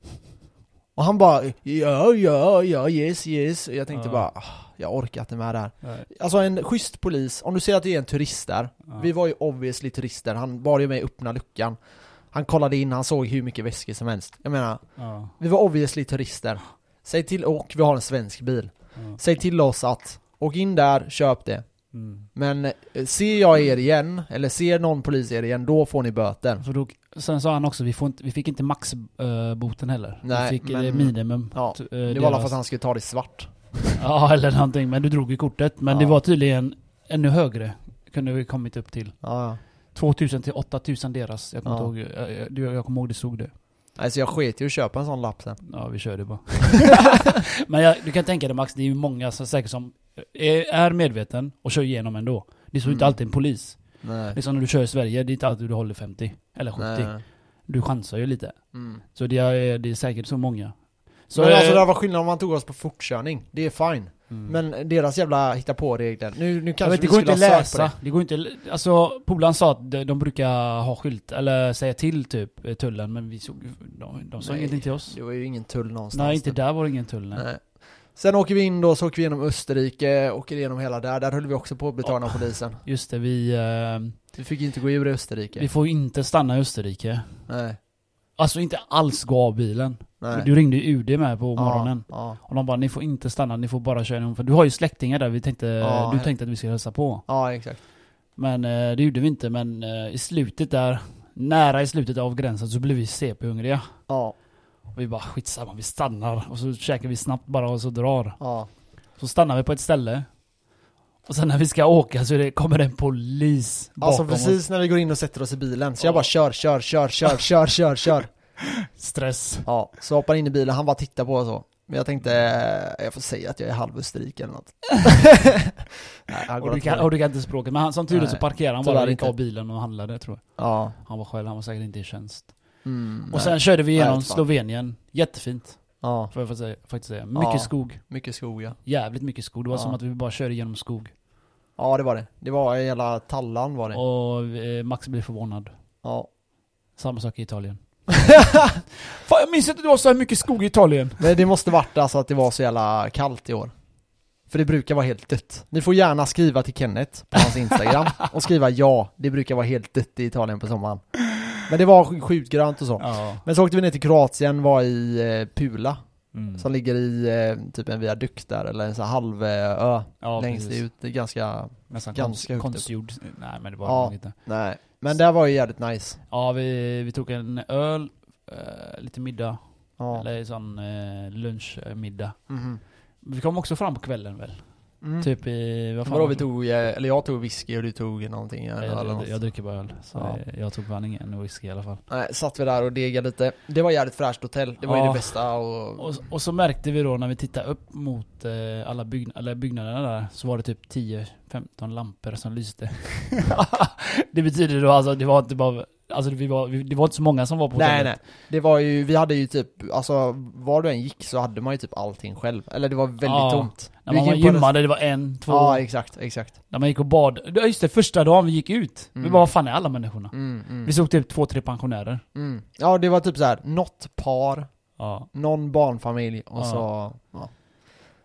[SPEAKER 1] Och han bara, ja, ja, ja, yes, yes. Och jag tänkte
[SPEAKER 2] Ja.
[SPEAKER 1] bara, "Ah, jag orkar inte med det här.
[SPEAKER 2] Nej.
[SPEAKER 1] Alltså en schysst polis, om du ser att det är en turist där.
[SPEAKER 2] Ja.
[SPEAKER 1] Vi var ju obviously turister, han bar ju med i öppna luckan. Han kollade in, han såg hur mycket väskor som helst. Jag menar,
[SPEAKER 2] Ja,
[SPEAKER 1] vi var obviously turister. Säg till, och vi har en svensk bil.
[SPEAKER 2] ja.
[SPEAKER 1] Säg till oss att, åk in där, köp det.
[SPEAKER 2] Mm.
[SPEAKER 1] Men eh, ser jag er igen, eller ser någon polis er igen, då får ni böter.
[SPEAKER 2] För då, sen sa han också, vi, får inte, vi fick inte maxboten heller.
[SPEAKER 1] Nej,
[SPEAKER 2] vi fick eh,
[SPEAKER 1] men-
[SPEAKER 2] minimum.
[SPEAKER 1] Ja,
[SPEAKER 2] t- eh,
[SPEAKER 1] Det
[SPEAKER 2] deras-
[SPEAKER 1] var alla för att han skulle ta det svart.
[SPEAKER 2] Ja, eller någonting. Men du drog ju kortet. Men
[SPEAKER 1] Ja.
[SPEAKER 2] det var tydligen ännu högre. Kunde vi kommit upp till.
[SPEAKER 1] Ja, ja.
[SPEAKER 2] 2000 till 8000 deras. Jag kommer
[SPEAKER 1] Ja.
[SPEAKER 2] inte ihåg, jag, jag, jag, jag kommer ihåg det såg det.
[SPEAKER 1] Alltså jag sket ju att köpa en sån lapp sen.
[SPEAKER 2] Ja, vi körde bara. men jag, du kan tänka dig Max, det är ju många som säkert som är, är medveten och kör igenom ändå. Det är så inte
[SPEAKER 1] Mm.
[SPEAKER 2] alltid en polis.
[SPEAKER 1] Nej.
[SPEAKER 2] Det är som när du kör i Sverige, det är inte alltid du håller 50. Eller 70.
[SPEAKER 1] Nej.
[SPEAKER 2] Du chansar ju lite.
[SPEAKER 1] Mm.
[SPEAKER 2] Så det är, det är säkert så många. Så,
[SPEAKER 1] Så men
[SPEAKER 2] eh,
[SPEAKER 1] alltså det var skillnad om man tog oss på fortkörning. Det är fine.
[SPEAKER 2] mm.
[SPEAKER 1] Men deras jävla hitta på regler Nu, nu
[SPEAKER 2] Jag
[SPEAKER 1] kanske
[SPEAKER 2] vet,
[SPEAKER 1] vi
[SPEAKER 2] det går
[SPEAKER 1] skulle
[SPEAKER 2] inte
[SPEAKER 1] ha
[SPEAKER 2] att
[SPEAKER 1] sökt på
[SPEAKER 2] läsa.
[SPEAKER 1] det.
[SPEAKER 2] Det. går inte, alltså polaren sa att de, de brukar ha skylt, eller säga till typ eh, tullen, men vi såg, de, de sa
[SPEAKER 1] Nej.
[SPEAKER 2] ingenting till oss.
[SPEAKER 1] Det var ju ingen tull någonstans.
[SPEAKER 2] Nej, inte där var det ingen tull. Nej.
[SPEAKER 1] Nej. Sen åker vi in då, så åker vi genom Österrike, åker igenom hela där. Där höll vi också på att bli tagna av polisen.
[SPEAKER 2] Just det, vi, eh,
[SPEAKER 1] Vi fick ju inte gå ur Österrike.
[SPEAKER 2] vi får ju inte stanna i Österrike.
[SPEAKER 1] Nej.
[SPEAKER 2] Alltså inte alls gå av bilen.
[SPEAKER 1] Nej.
[SPEAKER 2] Du ringde ju UD med på morgonen.
[SPEAKER 1] Ja, ja.
[SPEAKER 2] Och de bara, ni får inte stanna, ni får bara köra igenom. För du har ju släktingar där, vi tänkte,
[SPEAKER 1] Ja,
[SPEAKER 2] du
[SPEAKER 1] ja.
[SPEAKER 2] tänkte att vi skulle hälsa på.
[SPEAKER 1] ja exakt.
[SPEAKER 2] Men eh, det gjorde vi inte, men eh, i slutet där, nära i slutet av gränsen så blev vi CP-hungriga.
[SPEAKER 1] Ja,
[SPEAKER 2] Och vi bara skitsamma, vi stannar. Och så käkar vi snabbt bara och så drar.
[SPEAKER 1] ja.
[SPEAKER 2] Så stannar vi på ett ställe. Och sen när vi ska åka så är det, kommer det en polis bakom
[SPEAKER 1] Alltså
[SPEAKER 2] oss.
[SPEAKER 1] precis när vi går in och sätter oss i bilen. Så jag
[SPEAKER 2] Ja.
[SPEAKER 1] bara kör, kör, kör, kör, kör, kör, kör.
[SPEAKER 2] Stress.
[SPEAKER 1] Ja, så hoppar in i bilen, han bara tittar på och så. Men jag tänkte, eh, jag får säga att jag är halv österrik eller något. Nej, han går
[SPEAKER 2] Och du,
[SPEAKER 1] åt
[SPEAKER 2] kan,
[SPEAKER 1] helvete.
[SPEAKER 2] och du kan inte språket. Men han, som tur är så
[SPEAKER 1] Nej,
[SPEAKER 2] parkerar han
[SPEAKER 1] tyvärr
[SPEAKER 2] bara, gick
[SPEAKER 1] inte.
[SPEAKER 2] av bilen och handlade tror jag.
[SPEAKER 1] Ja.
[SPEAKER 2] Han var själv, han var säkert inte i tjänst.
[SPEAKER 1] Mm,
[SPEAKER 2] Och
[SPEAKER 1] nej.
[SPEAKER 2] sen körde vi igenom
[SPEAKER 1] Nej, fan.
[SPEAKER 2] Slovenien. Jättefint.
[SPEAKER 1] Ja,
[SPEAKER 2] Får jag faktiskt säga. Faktiskt säga. Mycket
[SPEAKER 1] Ja.
[SPEAKER 2] skog.
[SPEAKER 1] mycket skog ja.
[SPEAKER 2] Jävligt mycket skog. Det var
[SPEAKER 1] Ja.
[SPEAKER 2] som att vi bara körde igenom skog.
[SPEAKER 1] Ja det var det. Det var hela tallan var det.
[SPEAKER 2] Och eh, Max blev förvånad.
[SPEAKER 1] Ja.
[SPEAKER 2] Samma sak i Italien. Fan jag minns inte att det var så här mycket skog i Italien.
[SPEAKER 1] Men det måste varit alltså att det var så jävla kallt i år. För det brukar vara helt dött. Ni får gärna skriva till Kenneth på hans Instagram och skriva ja, det brukar vara helt dött i Italien på sommaren. Men det var sj- sjukt grönt och så.
[SPEAKER 2] Ja.
[SPEAKER 1] Men så åkte vi ner till Kroatien, var i eh, Pula,
[SPEAKER 2] Mm.
[SPEAKER 1] som ligger i eh, typ en viadukt där, eller en sån här halv eh, ö
[SPEAKER 2] ja,
[SPEAKER 1] längst
[SPEAKER 2] precis.
[SPEAKER 1] ut. Det är ganska, ganska
[SPEAKER 2] Nästan ganska
[SPEAKER 1] högt upp.
[SPEAKER 2] konstgjord. Nej men det var
[SPEAKER 1] Ja.
[SPEAKER 2] nog inte.
[SPEAKER 1] nej. Men det var ju jävligt nice.
[SPEAKER 2] Ja, vi, vi tog en öl, eh, lite middag,
[SPEAKER 1] Ja.
[SPEAKER 2] eller sån eh, lunchmiddag.
[SPEAKER 1] Mhm.
[SPEAKER 2] Vi kom också fram på kvällen väl?
[SPEAKER 1] Mm.
[SPEAKER 2] Typ i... Vad fan
[SPEAKER 1] Vadå
[SPEAKER 2] var
[SPEAKER 1] vi
[SPEAKER 2] det?
[SPEAKER 1] tog, eh, eller jag tog whisky och du tog någonting
[SPEAKER 2] Ja,
[SPEAKER 1] eller
[SPEAKER 2] Jag,
[SPEAKER 1] något.
[SPEAKER 2] jag, jag dricker bara öl, så
[SPEAKER 1] Ja.
[SPEAKER 2] eh, jag tog fan ingen whisky i alla fall.
[SPEAKER 1] Nej, satt vi där och degade lite. Det var jävligt fräscht hotell, det var ju
[SPEAKER 2] Ja.
[SPEAKER 1] det bästa och...
[SPEAKER 2] Och, och så märkte vi då när vi tittade upp mot eh, alla bygg, eller byggnaderna där, så var det typ 10-15 lampor som lyste. det betyder då alltså, det var inte bara... Alltså vi var, vi, det var inte så många som var på
[SPEAKER 1] Nej
[SPEAKER 2] hotellet.
[SPEAKER 1] nej, det var ju, vi hade ju typ, alltså var du än gick så hade man ju typ allting själv. Eller det var väldigt
[SPEAKER 2] Ja.
[SPEAKER 1] tomt.
[SPEAKER 2] När
[SPEAKER 1] Du
[SPEAKER 2] man var
[SPEAKER 1] gick in på en-
[SPEAKER 2] gymmade, det var en, två,
[SPEAKER 1] Ja exakt, exakt.
[SPEAKER 2] när man gick och bad. Ja, Just det, första dagen vi gick ut. Vi
[SPEAKER 1] Mm.
[SPEAKER 2] bara, vad fan är alla människorna?
[SPEAKER 1] Mm, mm,
[SPEAKER 2] Vi såg typ två, tre pensionärer.
[SPEAKER 1] mm. Ja det var typ så här, något par,
[SPEAKER 2] Ja.
[SPEAKER 1] någon barnfamilj och
[SPEAKER 2] Ja.
[SPEAKER 1] så... Ja.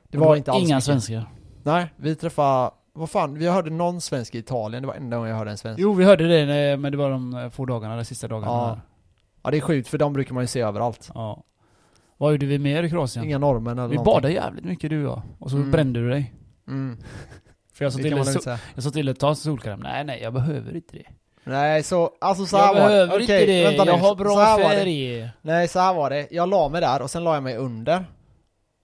[SPEAKER 1] Det
[SPEAKER 2] Och
[SPEAKER 1] var inte alls
[SPEAKER 2] Inga
[SPEAKER 1] mycket.
[SPEAKER 2] svenskar.
[SPEAKER 1] Nej, vi träffade, vad fan, vi hörde någon svensk i Italien, det var enda gången jag hörde en svensk.
[SPEAKER 2] Jo, vi hörde det, eh, men det var de eh, få dagarna, de sista dagarna.
[SPEAKER 1] Ja.
[SPEAKER 2] där.
[SPEAKER 1] Ja det är sjukt för de brukar man ju se överallt.
[SPEAKER 2] ja. Vad gjorde vi mer i Kroatien?
[SPEAKER 1] Inga norrmän eller
[SPEAKER 2] vi
[SPEAKER 1] någonting.
[SPEAKER 2] badade jävligt mycket du och jag. Och så
[SPEAKER 1] Mm.
[SPEAKER 2] brände du dig.
[SPEAKER 1] Mm.
[SPEAKER 2] För jag
[SPEAKER 1] Det
[SPEAKER 2] sa Alltså, till
[SPEAKER 1] kan man
[SPEAKER 2] dig,
[SPEAKER 1] lugnt
[SPEAKER 2] so-
[SPEAKER 1] säga.
[SPEAKER 2] jag sa till dig, ta solkräm. Nej, nej, jag behöver inte det.
[SPEAKER 1] Nej så, alltså så här
[SPEAKER 2] jag
[SPEAKER 1] var det.
[SPEAKER 2] behöver
[SPEAKER 1] Okej,
[SPEAKER 2] inte det.
[SPEAKER 1] vänta nu.
[SPEAKER 2] jag har bra
[SPEAKER 1] så här var det.
[SPEAKER 2] färg.
[SPEAKER 1] Nej så här var det, jag la mig där och sen la jag mig under.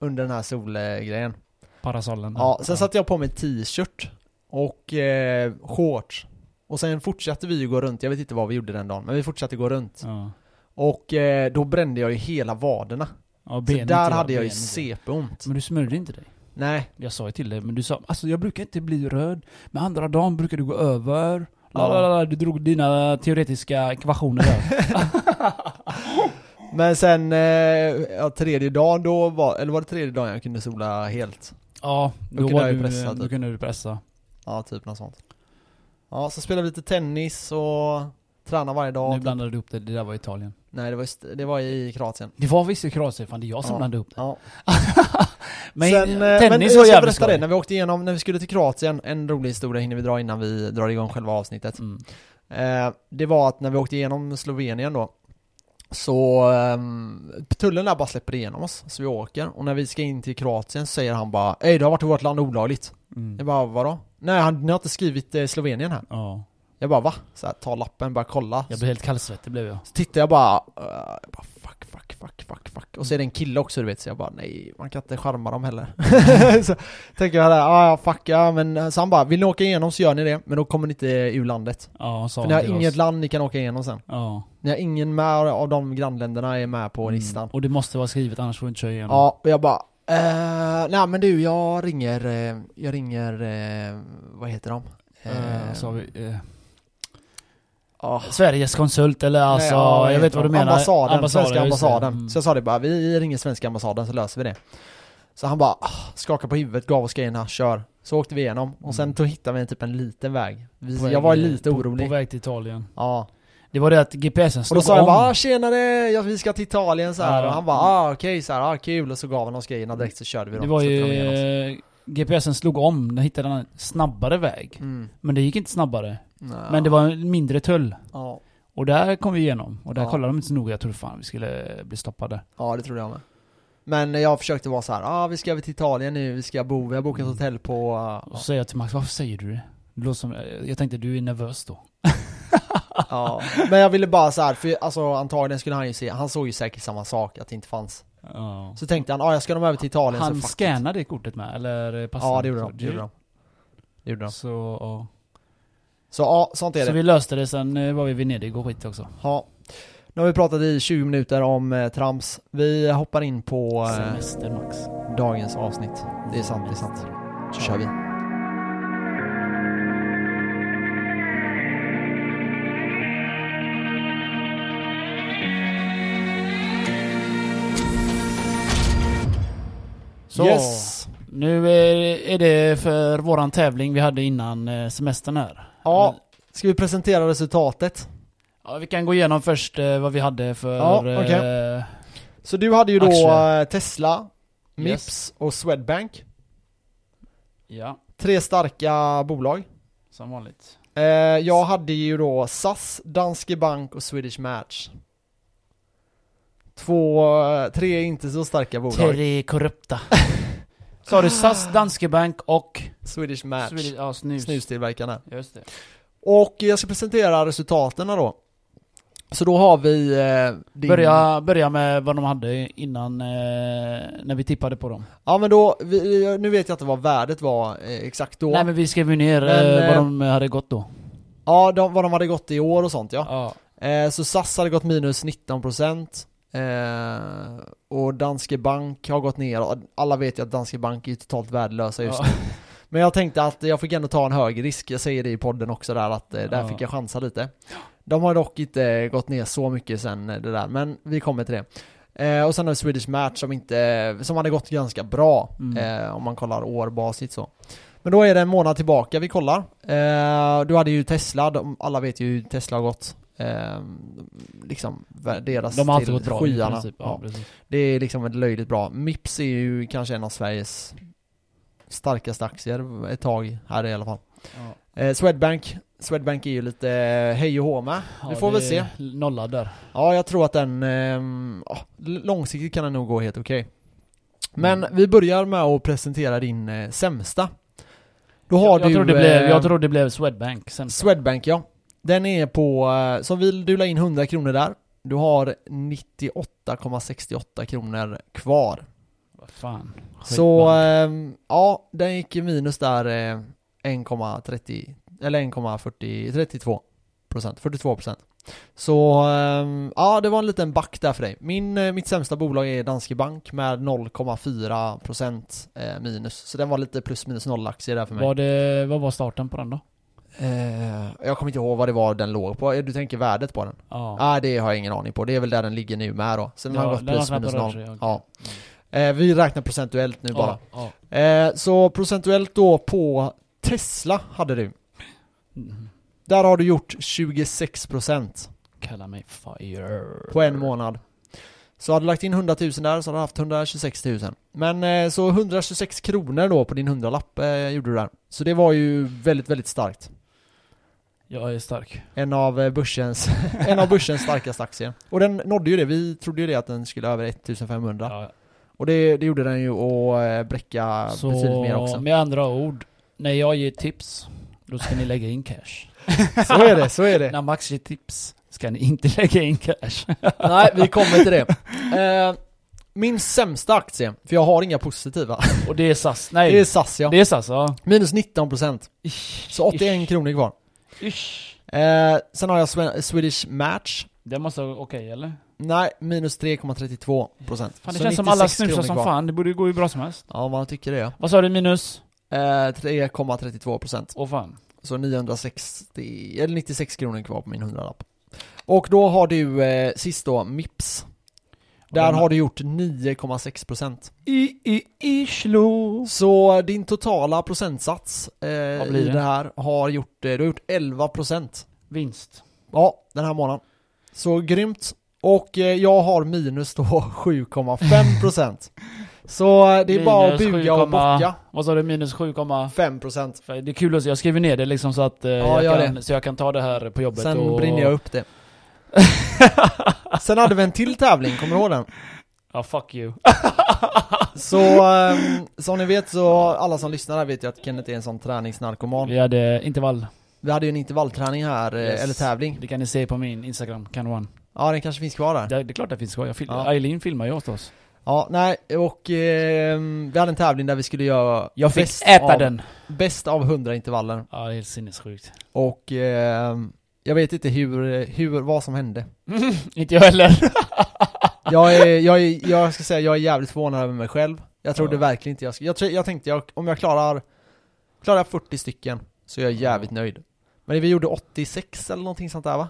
[SPEAKER 1] Under den här
[SPEAKER 2] Mm.
[SPEAKER 1] solgrejen.
[SPEAKER 2] Parasollen. där.
[SPEAKER 1] Ja, sen satte jag på mig t-shirt och eh, shorts. Och sen fortsatte vi ju gå runt, jag vet inte vad vi gjorde den dagen, men vi fortsatte gå runt.
[SPEAKER 2] Ja.
[SPEAKER 1] Och eh, då brände jag ju hela vaderna.
[SPEAKER 2] Ja,
[SPEAKER 1] Så
[SPEAKER 2] benet,
[SPEAKER 1] där
[SPEAKER 2] ja, Mm.
[SPEAKER 1] hade jag ju
[SPEAKER 2] benet.
[SPEAKER 1] CP-ont.
[SPEAKER 2] Men du smörjde inte dig.
[SPEAKER 1] Nej,
[SPEAKER 2] Jag sa ju till dig, men du sa alltså jag brukar inte bli röd, men andra dagen brukar du gå över. La,
[SPEAKER 1] Ja.
[SPEAKER 2] la, la, du drog dina teoretiska ekvationer där.
[SPEAKER 1] men sen eh, ja, tredje dagen då var, eller var det tredje dagen jag kunde sola helt?
[SPEAKER 2] ja, då,
[SPEAKER 1] kunde
[SPEAKER 2] var
[SPEAKER 1] jag ju
[SPEAKER 2] du,
[SPEAKER 1] pressa,
[SPEAKER 2] då
[SPEAKER 1] typ.
[SPEAKER 2] kunde du pressa.
[SPEAKER 1] Ja, typ något sånt. Ja, så spelade vi lite tennis och tränade varje dag.
[SPEAKER 2] nu blandade du ihop det, det där var Italien.
[SPEAKER 1] Nej, det var, just, det var i Kroatien.
[SPEAKER 2] Det var visst i Kroatien, fan det är jag som
[SPEAKER 1] Ja.
[SPEAKER 2] blandade ihop det.
[SPEAKER 1] Ja.
[SPEAKER 2] Men
[SPEAKER 1] Sen, eh, men
[SPEAKER 2] tennis
[SPEAKER 1] jag
[SPEAKER 2] var
[SPEAKER 1] ska
[SPEAKER 2] jävligt
[SPEAKER 1] berätta det,
[SPEAKER 2] skoj.
[SPEAKER 1] när vi åkte igenom, när vi skulle till Kroatien, en rolig historia hinner vi dra innan vi drar igång själva avsnittet.
[SPEAKER 2] Mm.
[SPEAKER 1] Eh, det var att när vi åkte igenom Slovenien då, så ehm, tullen där bara släpper igenom oss, så vi åker. Och när vi ska in till Kroatien så säger han bara Ey, du har varit i vårt land olagligt.
[SPEAKER 2] Mm.
[SPEAKER 1] Jag bara vadå? Nej, han, ni har inte skrivit eh, Slovenien här.
[SPEAKER 2] Ja,
[SPEAKER 1] Jag bara va? Så här, ta lappen, bara kolla.
[SPEAKER 2] jag blev helt kallsvettig blev jag.
[SPEAKER 1] Så tittar jag bara, eh, jag bara fuck, fuck, fuck, fuck, fuck. Och så är det en kille också du vet, så jag bara nej, man kan inte charma dem heller. så tänker jag där, ah, ja fuck ja, men så han bara, vill ni åka igenom så gör ni det, men då kommer ni inte ur landet.
[SPEAKER 2] Ja,
[SPEAKER 1] För
[SPEAKER 2] sa han
[SPEAKER 1] ni har
[SPEAKER 2] till
[SPEAKER 1] inget
[SPEAKER 2] oss.
[SPEAKER 1] land ni kan åka igenom sen.
[SPEAKER 2] Ja.
[SPEAKER 1] Ni har ingen med av de grannländerna är med
[SPEAKER 2] Mm.
[SPEAKER 1] på listan.
[SPEAKER 2] Och det måste vara skrivet annars får vi inte köra igenom.
[SPEAKER 1] Ja, och jag bara, eh, nej men du, jag ringer, eh, jag ringer, eh, vad heter de?
[SPEAKER 2] Eh, sa vi, eh,
[SPEAKER 1] ja.
[SPEAKER 2] Sveriges konsult eller alltså,
[SPEAKER 1] Nej, ja,
[SPEAKER 2] jag vet vad du
[SPEAKER 1] de?
[SPEAKER 2] menar.
[SPEAKER 1] Ambassaden, svenska
[SPEAKER 2] just det.
[SPEAKER 1] ambassaden.
[SPEAKER 2] Mm.
[SPEAKER 1] Så jag sa det bara, vi ringer svenska ambassaden så löser vi det. Så han bara ah, skakade på huvudet, gav oss grejerna, kör. Så åkte vi igenom och sen
[SPEAKER 2] Mm.
[SPEAKER 1] tog, hittade vi en typ en liten väg. Vi,
[SPEAKER 2] På väg-
[SPEAKER 1] jag var lite
[SPEAKER 2] på-
[SPEAKER 1] orolig.
[SPEAKER 2] På väg till Italien.
[SPEAKER 1] ja.
[SPEAKER 2] Det var det att GPSen
[SPEAKER 1] Och
[SPEAKER 2] slog
[SPEAKER 1] då sa jag
[SPEAKER 2] om.
[SPEAKER 1] bara ah, tjenare, ja, vi ska till Italien så här.
[SPEAKER 2] Ja.
[SPEAKER 1] Och han bara ah, okej så här, ah, kul. Och så gav han oss grejerna direkt så körde vi dem.
[SPEAKER 2] det var
[SPEAKER 1] så
[SPEAKER 2] ju...
[SPEAKER 1] tog de igenom oss.
[SPEAKER 2] eh, GPSen slog om, den hittade en snabbare väg.
[SPEAKER 1] Mm.
[SPEAKER 2] Men det gick inte snabbare.
[SPEAKER 1] Ja.
[SPEAKER 2] Men det var en mindre tull.
[SPEAKER 1] Mm. ja.
[SPEAKER 2] Och där kom vi igenom. Och där
[SPEAKER 1] Ja.
[SPEAKER 2] kollade de inte så noga. Jag trodde fan vi skulle bli stoppade.
[SPEAKER 1] ja, det trodde jag med. Men jag försökte vara så här, ah, vi ska över till Italien nu, vi ska bo, vi har bokat
[SPEAKER 2] Mm.
[SPEAKER 1] hotell på... ah,
[SPEAKER 2] Och så säger jag till Max, varför säger du det? det låter som, eh, jag tänkte du är nervös då.
[SPEAKER 1] Ja, men jag ville bara så här, för alltså antagligen skulle han ju se, han såg ju säkert samma sak, att det inte fanns.
[SPEAKER 2] Ja.
[SPEAKER 1] Så tänkte han, ja jag ska de över till Italien
[SPEAKER 2] Han
[SPEAKER 1] så fuck it.
[SPEAKER 2] scannade det kortet med, eller eh, passet?
[SPEAKER 1] Ja det gjorde de, det
[SPEAKER 2] Så-
[SPEAKER 1] gjorde de. Det gjorde de.
[SPEAKER 2] Så, ja.
[SPEAKER 1] Så ja, sånt är
[SPEAKER 2] så
[SPEAKER 1] det.
[SPEAKER 2] vi löste det, sen eh, var vi i Venedig och skit också.
[SPEAKER 1] Ja. Nu har vi pratat i 20 minuter om eh, trams. Vi hoppar in på eh,
[SPEAKER 2] Semester Max.
[SPEAKER 1] dagens avsnitt. Det är sant, det är sant. Så kör vi.
[SPEAKER 2] Så,
[SPEAKER 1] Yes!
[SPEAKER 2] nu eh, är, är det för våran tävling vi hade innan eh, semestern här.
[SPEAKER 1] Ja, ska vi presentera resultatet?
[SPEAKER 2] Ja, vi kan gå igenom först eh, vad vi hade för...
[SPEAKER 1] Ja, okej.
[SPEAKER 2] eh,
[SPEAKER 1] Så du hade ju då
[SPEAKER 2] Aktier.
[SPEAKER 1] eh, Tesla,
[SPEAKER 2] Yes.
[SPEAKER 1] Mips och Swedbank.
[SPEAKER 2] Ja,
[SPEAKER 1] Tre starka bolag.
[SPEAKER 2] som vanligt.
[SPEAKER 1] Eh, jag hade ju då SAS, Danske Bank och Swedish Match. Två, tre inte så starka bolag.
[SPEAKER 2] Tre korrupta. Sa du SAS, Danske Bank och...
[SPEAKER 1] Swedish Match.
[SPEAKER 2] Swedish- Ja, snus.
[SPEAKER 1] Snustillverkarna.
[SPEAKER 2] Just det.
[SPEAKER 1] Och jag ska presentera resultaten då. Så då har vi eh, din...
[SPEAKER 2] Börja, börja med vad de hade innan, eh, när vi tippade på dem.
[SPEAKER 1] Ja men då, vi, nu vet jag inte vad värdet var eh, exakt då.
[SPEAKER 2] Nej men vi skrev ju ner
[SPEAKER 1] Men,
[SPEAKER 2] eh,
[SPEAKER 1] eh,
[SPEAKER 2] vad de hade gått då.
[SPEAKER 1] Ja, de, vad de hade gått i år och sånt ja.
[SPEAKER 2] Ja.
[SPEAKER 1] Eh, så SAS hade gått minus 19% eh, och Danske Bank har gått ner. Och Alla vet ju att Danske Bank är ju totalt värdelösa just
[SPEAKER 2] Ja.
[SPEAKER 1] nu. Men jag tänkte att jag fick ändå ta en hög risk. Jag säger det i podden också där att eh, där
[SPEAKER 2] Ja.
[SPEAKER 1] fick jag chansa lite. De har dock inte gått ner så mycket sen eh, det där, men vi kommer till det. Eh, och sen har vi Swedish Match som, inte, som hade gått ganska bra
[SPEAKER 2] Mm.
[SPEAKER 1] eh, om man kollar årbasigt så. Men då är det en månad tillbaka vi kollar. Eh, du hade ju Tesla, de, alla vet ju hur Tesla har gått. Eh, liksom värderas
[SPEAKER 2] De har alltid
[SPEAKER 1] till
[SPEAKER 2] gått bra i
[SPEAKER 1] skyarna.
[SPEAKER 2] princip. Ja,
[SPEAKER 1] Ja.
[SPEAKER 2] precis.
[SPEAKER 1] Det är liksom ett löjligt bra. Mips är ju kanske en av Sveriges starkaste aktier ett tag här i alla fall.
[SPEAKER 2] Ja.
[SPEAKER 1] Eh, Swedbank. Swedbank är ju lite eh, hej och hå med.
[SPEAKER 2] Ja,
[SPEAKER 1] Vi får väl
[SPEAKER 2] det
[SPEAKER 1] se.
[SPEAKER 2] är Nolla där.
[SPEAKER 1] Ja, jag tror att den ehm, ja, l- långsiktigt kan den nog gå helt okej. Men
[SPEAKER 2] Mm.
[SPEAKER 1] vi börjar med att presentera din eh, sämsta. Då har
[SPEAKER 2] Jag,
[SPEAKER 1] du
[SPEAKER 2] jag, tror det
[SPEAKER 1] eh,
[SPEAKER 2] blev, jag tror det blev Swedbank sen.
[SPEAKER 1] Swedbank ja. Den är på, eh, så vill du la in 100 kronor där. Du har 98,68 kronor kvar.
[SPEAKER 2] Vad fan.
[SPEAKER 1] Så
[SPEAKER 2] Skitbra.
[SPEAKER 1] ehm, ja, den gick i minus där eh, 1,30 eller 1,42 procent, 42 procent. Så ehm, ja, det var en liten back där för dig. Min, eh, mitt sämsta bolag är Danske Bank med 0,4 procent eh, minus. Så den var lite plus minus noll aktier där för mig.
[SPEAKER 2] var det, vad var starten på den då?
[SPEAKER 1] Eh, jag kommer inte ihåg vad det var den låg på. Eh, Du tänker värdet på den?
[SPEAKER 2] Ja.
[SPEAKER 1] Nej, ah, det har jag ingen aning på. Det är väl där den ligger nu med då. Så den
[SPEAKER 2] Ja,
[SPEAKER 1] har gått
[SPEAKER 2] den har
[SPEAKER 1] plus
[SPEAKER 2] knappt
[SPEAKER 1] minus
[SPEAKER 2] rört
[SPEAKER 1] noll.
[SPEAKER 2] sig, okej.
[SPEAKER 1] Ja. Eh, vi räknar procentuellt nu bara.
[SPEAKER 2] Ja, ja.
[SPEAKER 1] Eh, så procentuellt då på Tesla hade du.
[SPEAKER 2] Mm.
[SPEAKER 1] Där har du gjort 26%
[SPEAKER 2] Kalla mig fire.
[SPEAKER 1] på en månad. Så hade du lagt in 100 000 där så hade du haft 126 000. Men eh, så 126 kronor då på din 100-lapp eh, gjorde du där. Så det var ju väldigt, väldigt starkt.
[SPEAKER 2] Jag är stark.
[SPEAKER 1] En av eh, börsens, en av börsens starkaste aktier. Och den nådde ju det. Vi trodde ju det att den skulle över 1500.
[SPEAKER 2] Ja.
[SPEAKER 1] Och det, det gjorde den ju och eh, bräcka betydligt mer
[SPEAKER 2] Så
[SPEAKER 1] också.
[SPEAKER 2] med andra ord, när jag ger tips, då ska ni lägga in cash.
[SPEAKER 1] Så är det, så är det.
[SPEAKER 2] När Max ger tips, ska ni inte lägga in cash.
[SPEAKER 1] Nej, vi kommer till det. Eh, min sämsta aktie, för jag har inga positiva,
[SPEAKER 2] Och det är SAS. Nej,
[SPEAKER 1] det är SAS ja.
[SPEAKER 2] det är SAS ja.
[SPEAKER 1] Minus 19%,
[SPEAKER 2] Ish,
[SPEAKER 1] så 81 kronor kvar.
[SPEAKER 2] Ish, ish.
[SPEAKER 1] Eh, sen har jag Swe- Swedish Match,
[SPEAKER 2] Det måste vara okej eller?
[SPEAKER 1] nej, minus 3,32%.
[SPEAKER 2] Fan det
[SPEAKER 1] Så
[SPEAKER 2] känns som alla
[SPEAKER 1] 96
[SPEAKER 2] snusar
[SPEAKER 1] kronor
[SPEAKER 2] som
[SPEAKER 1] kvar.
[SPEAKER 2] fan, det borde ju gå hur bra som helst.
[SPEAKER 1] Ja, man tycker det ja.
[SPEAKER 2] Vad sa du minus?
[SPEAKER 1] Eh, 3,32%.
[SPEAKER 2] Åh fan.
[SPEAKER 1] Så 960, eller 96 kronor kvar på min 100-lapp. Och då har du eh, sist då Mips. Där
[SPEAKER 2] den-
[SPEAKER 1] har du gjort 9,6%.
[SPEAKER 2] I, i, Islo.
[SPEAKER 1] Så din totala procentsats eh,
[SPEAKER 2] Vad
[SPEAKER 1] i
[SPEAKER 2] blir
[SPEAKER 1] det?
[SPEAKER 2] det?
[SPEAKER 1] här har gjort, eh, du har gjort 11%
[SPEAKER 2] Vinst.
[SPEAKER 1] Ja, den här månaden. Så grymt. Och eh, jag har minus då 7,5% Så eh, det är bara att
[SPEAKER 2] Minus
[SPEAKER 1] buga och
[SPEAKER 2] 7,5.
[SPEAKER 1] bocka.
[SPEAKER 2] Vad sa du? Minus 7,5?
[SPEAKER 1] 5%
[SPEAKER 2] Det är kul att jag skriver ner det liksom så att eh,
[SPEAKER 1] gör
[SPEAKER 2] jag, kan, så jag kan ta det här på jobbet
[SPEAKER 1] Sen
[SPEAKER 2] och...
[SPEAKER 1] brinner jag upp det. Sen hade vi en till tävling, kommer du ihåg den?
[SPEAKER 2] Ja, fuck you.
[SPEAKER 1] Så eh, som ni vet så, alla som lyssnar här vet ju att Kenneth är en sån träningsnarkoman.
[SPEAKER 2] Vi hade intervall.
[SPEAKER 1] Vi hade ju en intervallträning här, eh,
[SPEAKER 2] Yes.
[SPEAKER 1] eller tävling.
[SPEAKER 2] Det kan ni se på min Instagram, kan one.
[SPEAKER 1] Ja, den kanske finns kvar där.
[SPEAKER 2] Det, det är klart det finns kvar. Jag fil-
[SPEAKER 1] Ja.
[SPEAKER 2] Eileen filmar ju åt oss.
[SPEAKER 1] Ja, nej, och eh, vi hade en tävling där vi skulle göra
[SPEAKER 2] Jag fick
[SPEAKER 1] bäst
[SPEAKER 2] äta
[SPEAKER 1] av,
[SPEAKER 2] den.
[SPEAKER 1] Bäst av 100 intervaller.
[SPEAKER 2] Ja, det är helt sinnessjukt.
[SPEAKER 1] Och eh, jag vet inte hur, hur, vad som hände.
[SPEAKER 2] Inte jag heller.
[SPEAKER 1] Jag är, jag är, jag ska säga, jag är jävligt förvånad över mig själv. Jag trodde
[SPEAKER 2] Ja.
[SPEAKER 1] verkligen inte jag skulle, jag, tro- jag tänkte jag, om jag klarar, klarar jag 40 stycken så är jag jävligt nöjd. Men vi gjorde 86 eller någonting sånt där va?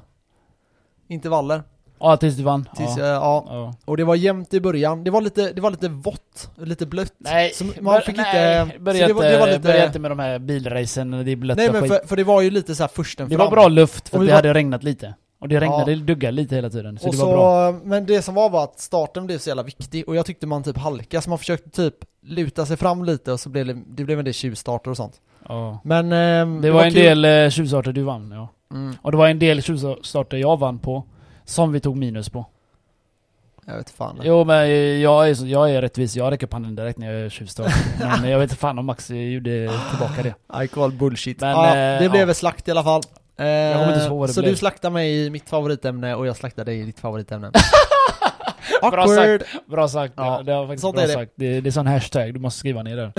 [SPEAKER 1] Intervaller.
[SPEAKER 2] Ja, tills du vann.
[SPEAKER 1] Tills,
[SPEAKER 2] ja.
[SPEAKER 1] ja. ja.
[SPEAKER 2] Ja.
[SPEAKER 1] Och det var jämnt i början, det var lite, det var lite vått, lite blött.
[SPEAKER 2] Nej,
[SPEAKER 1] Så man
[SPEAKER 2] bör-
[SPEAKER 1] fick
[SPEAKER 2] nej,
[SPEAKER 1] inte- så
[SPEAKER 2] Börja,
[SPEAKER 1] det
[SPEAKER 2] inte,
[SPEAKER 1] var- det var lite-
[SPEAKER 2] börja inte med de här bilracen, det är blötta
[SPEAKER 1] Nej men
[SPEAKER 2] skit.
[SPEAKER 1] för, för det var ju lite så här försten
[SPEAKER 2] det
[SPEAKER 1] fram.
[SPEAKER 2] var bra luft för
[SPEAKER 1] Och vi
[SPEAKER 2] det
[SPEAKER 1] var-
[SPEAKER 2] hade regnat lite. Och det regnade,
[SPEAKER 1] Ja.
[SPEAKER 2] det duggade lite hela tiden. Så
[SPEAKER 1] och
[SPEAKER 2] det
[SPEAKER 1] så,
[SPEAKER 2] var bra.
[SPEAKER 1] Men det som var var att starten blev så jävla viktig och jag tyckte man typ halkade så man försökte typ luta sig fram lite och så blev det, det blev en del tjuvstarter och sånt.
[SPEAKER 2] Ja.
[SPEAKER 1] Men ehm,
[SPEAKER 2] Det var en
[SPEAKER 1] kul.
[SPEAKER 2] del eh, tjuvstarter du vann ja.
[SPEAKER 1] Mm,
[SPEAKER 2] Och det var en del tjuvstarter jag vann på. Som vi tog minus på.
[SPEAKER 1] jag vet fan.
[SPEAKER 2] Jo men eh, jag är, så- jag är rättvis, jag räcker upp handen direkt när jag är tjuvstart. men jag vet inte fan om Max eh, gjorde tillbaka det.
[SPEAKER 1] I call bullshit.
[SPEAKER 2] Men,
[SPEAKER 1] ja,
[SPEAKER 2] eh,
[SPEAKER 1] det
[SPEAKER 2] ja.
[SPEAKER 1] blev väl slakt i alla fall. Eh,
[SPEAKER 2] kommer inte ihåg vad det
[SPEAKER 1] så
[SPEAKER 2] blev.
[SPEAKER 1] du slaktade mig i mitt favoritämne och jag slaktade dig i ditt favoritämne.
[SPEAKER 2] Bra
[SPEAKER 1] Awkward!
[SPEAKER 2] Bra sagt,
[SPEAKER 1] Ja,
[SPEAKER 2] det, det var faktiskt
[SPEAKER 1] sånt
[SPEAKER 2] bra
[SPEAKER 1] är det.
[SPEAKER 2] sagt. Det, det är sån hashtag, du måste skriva ner det.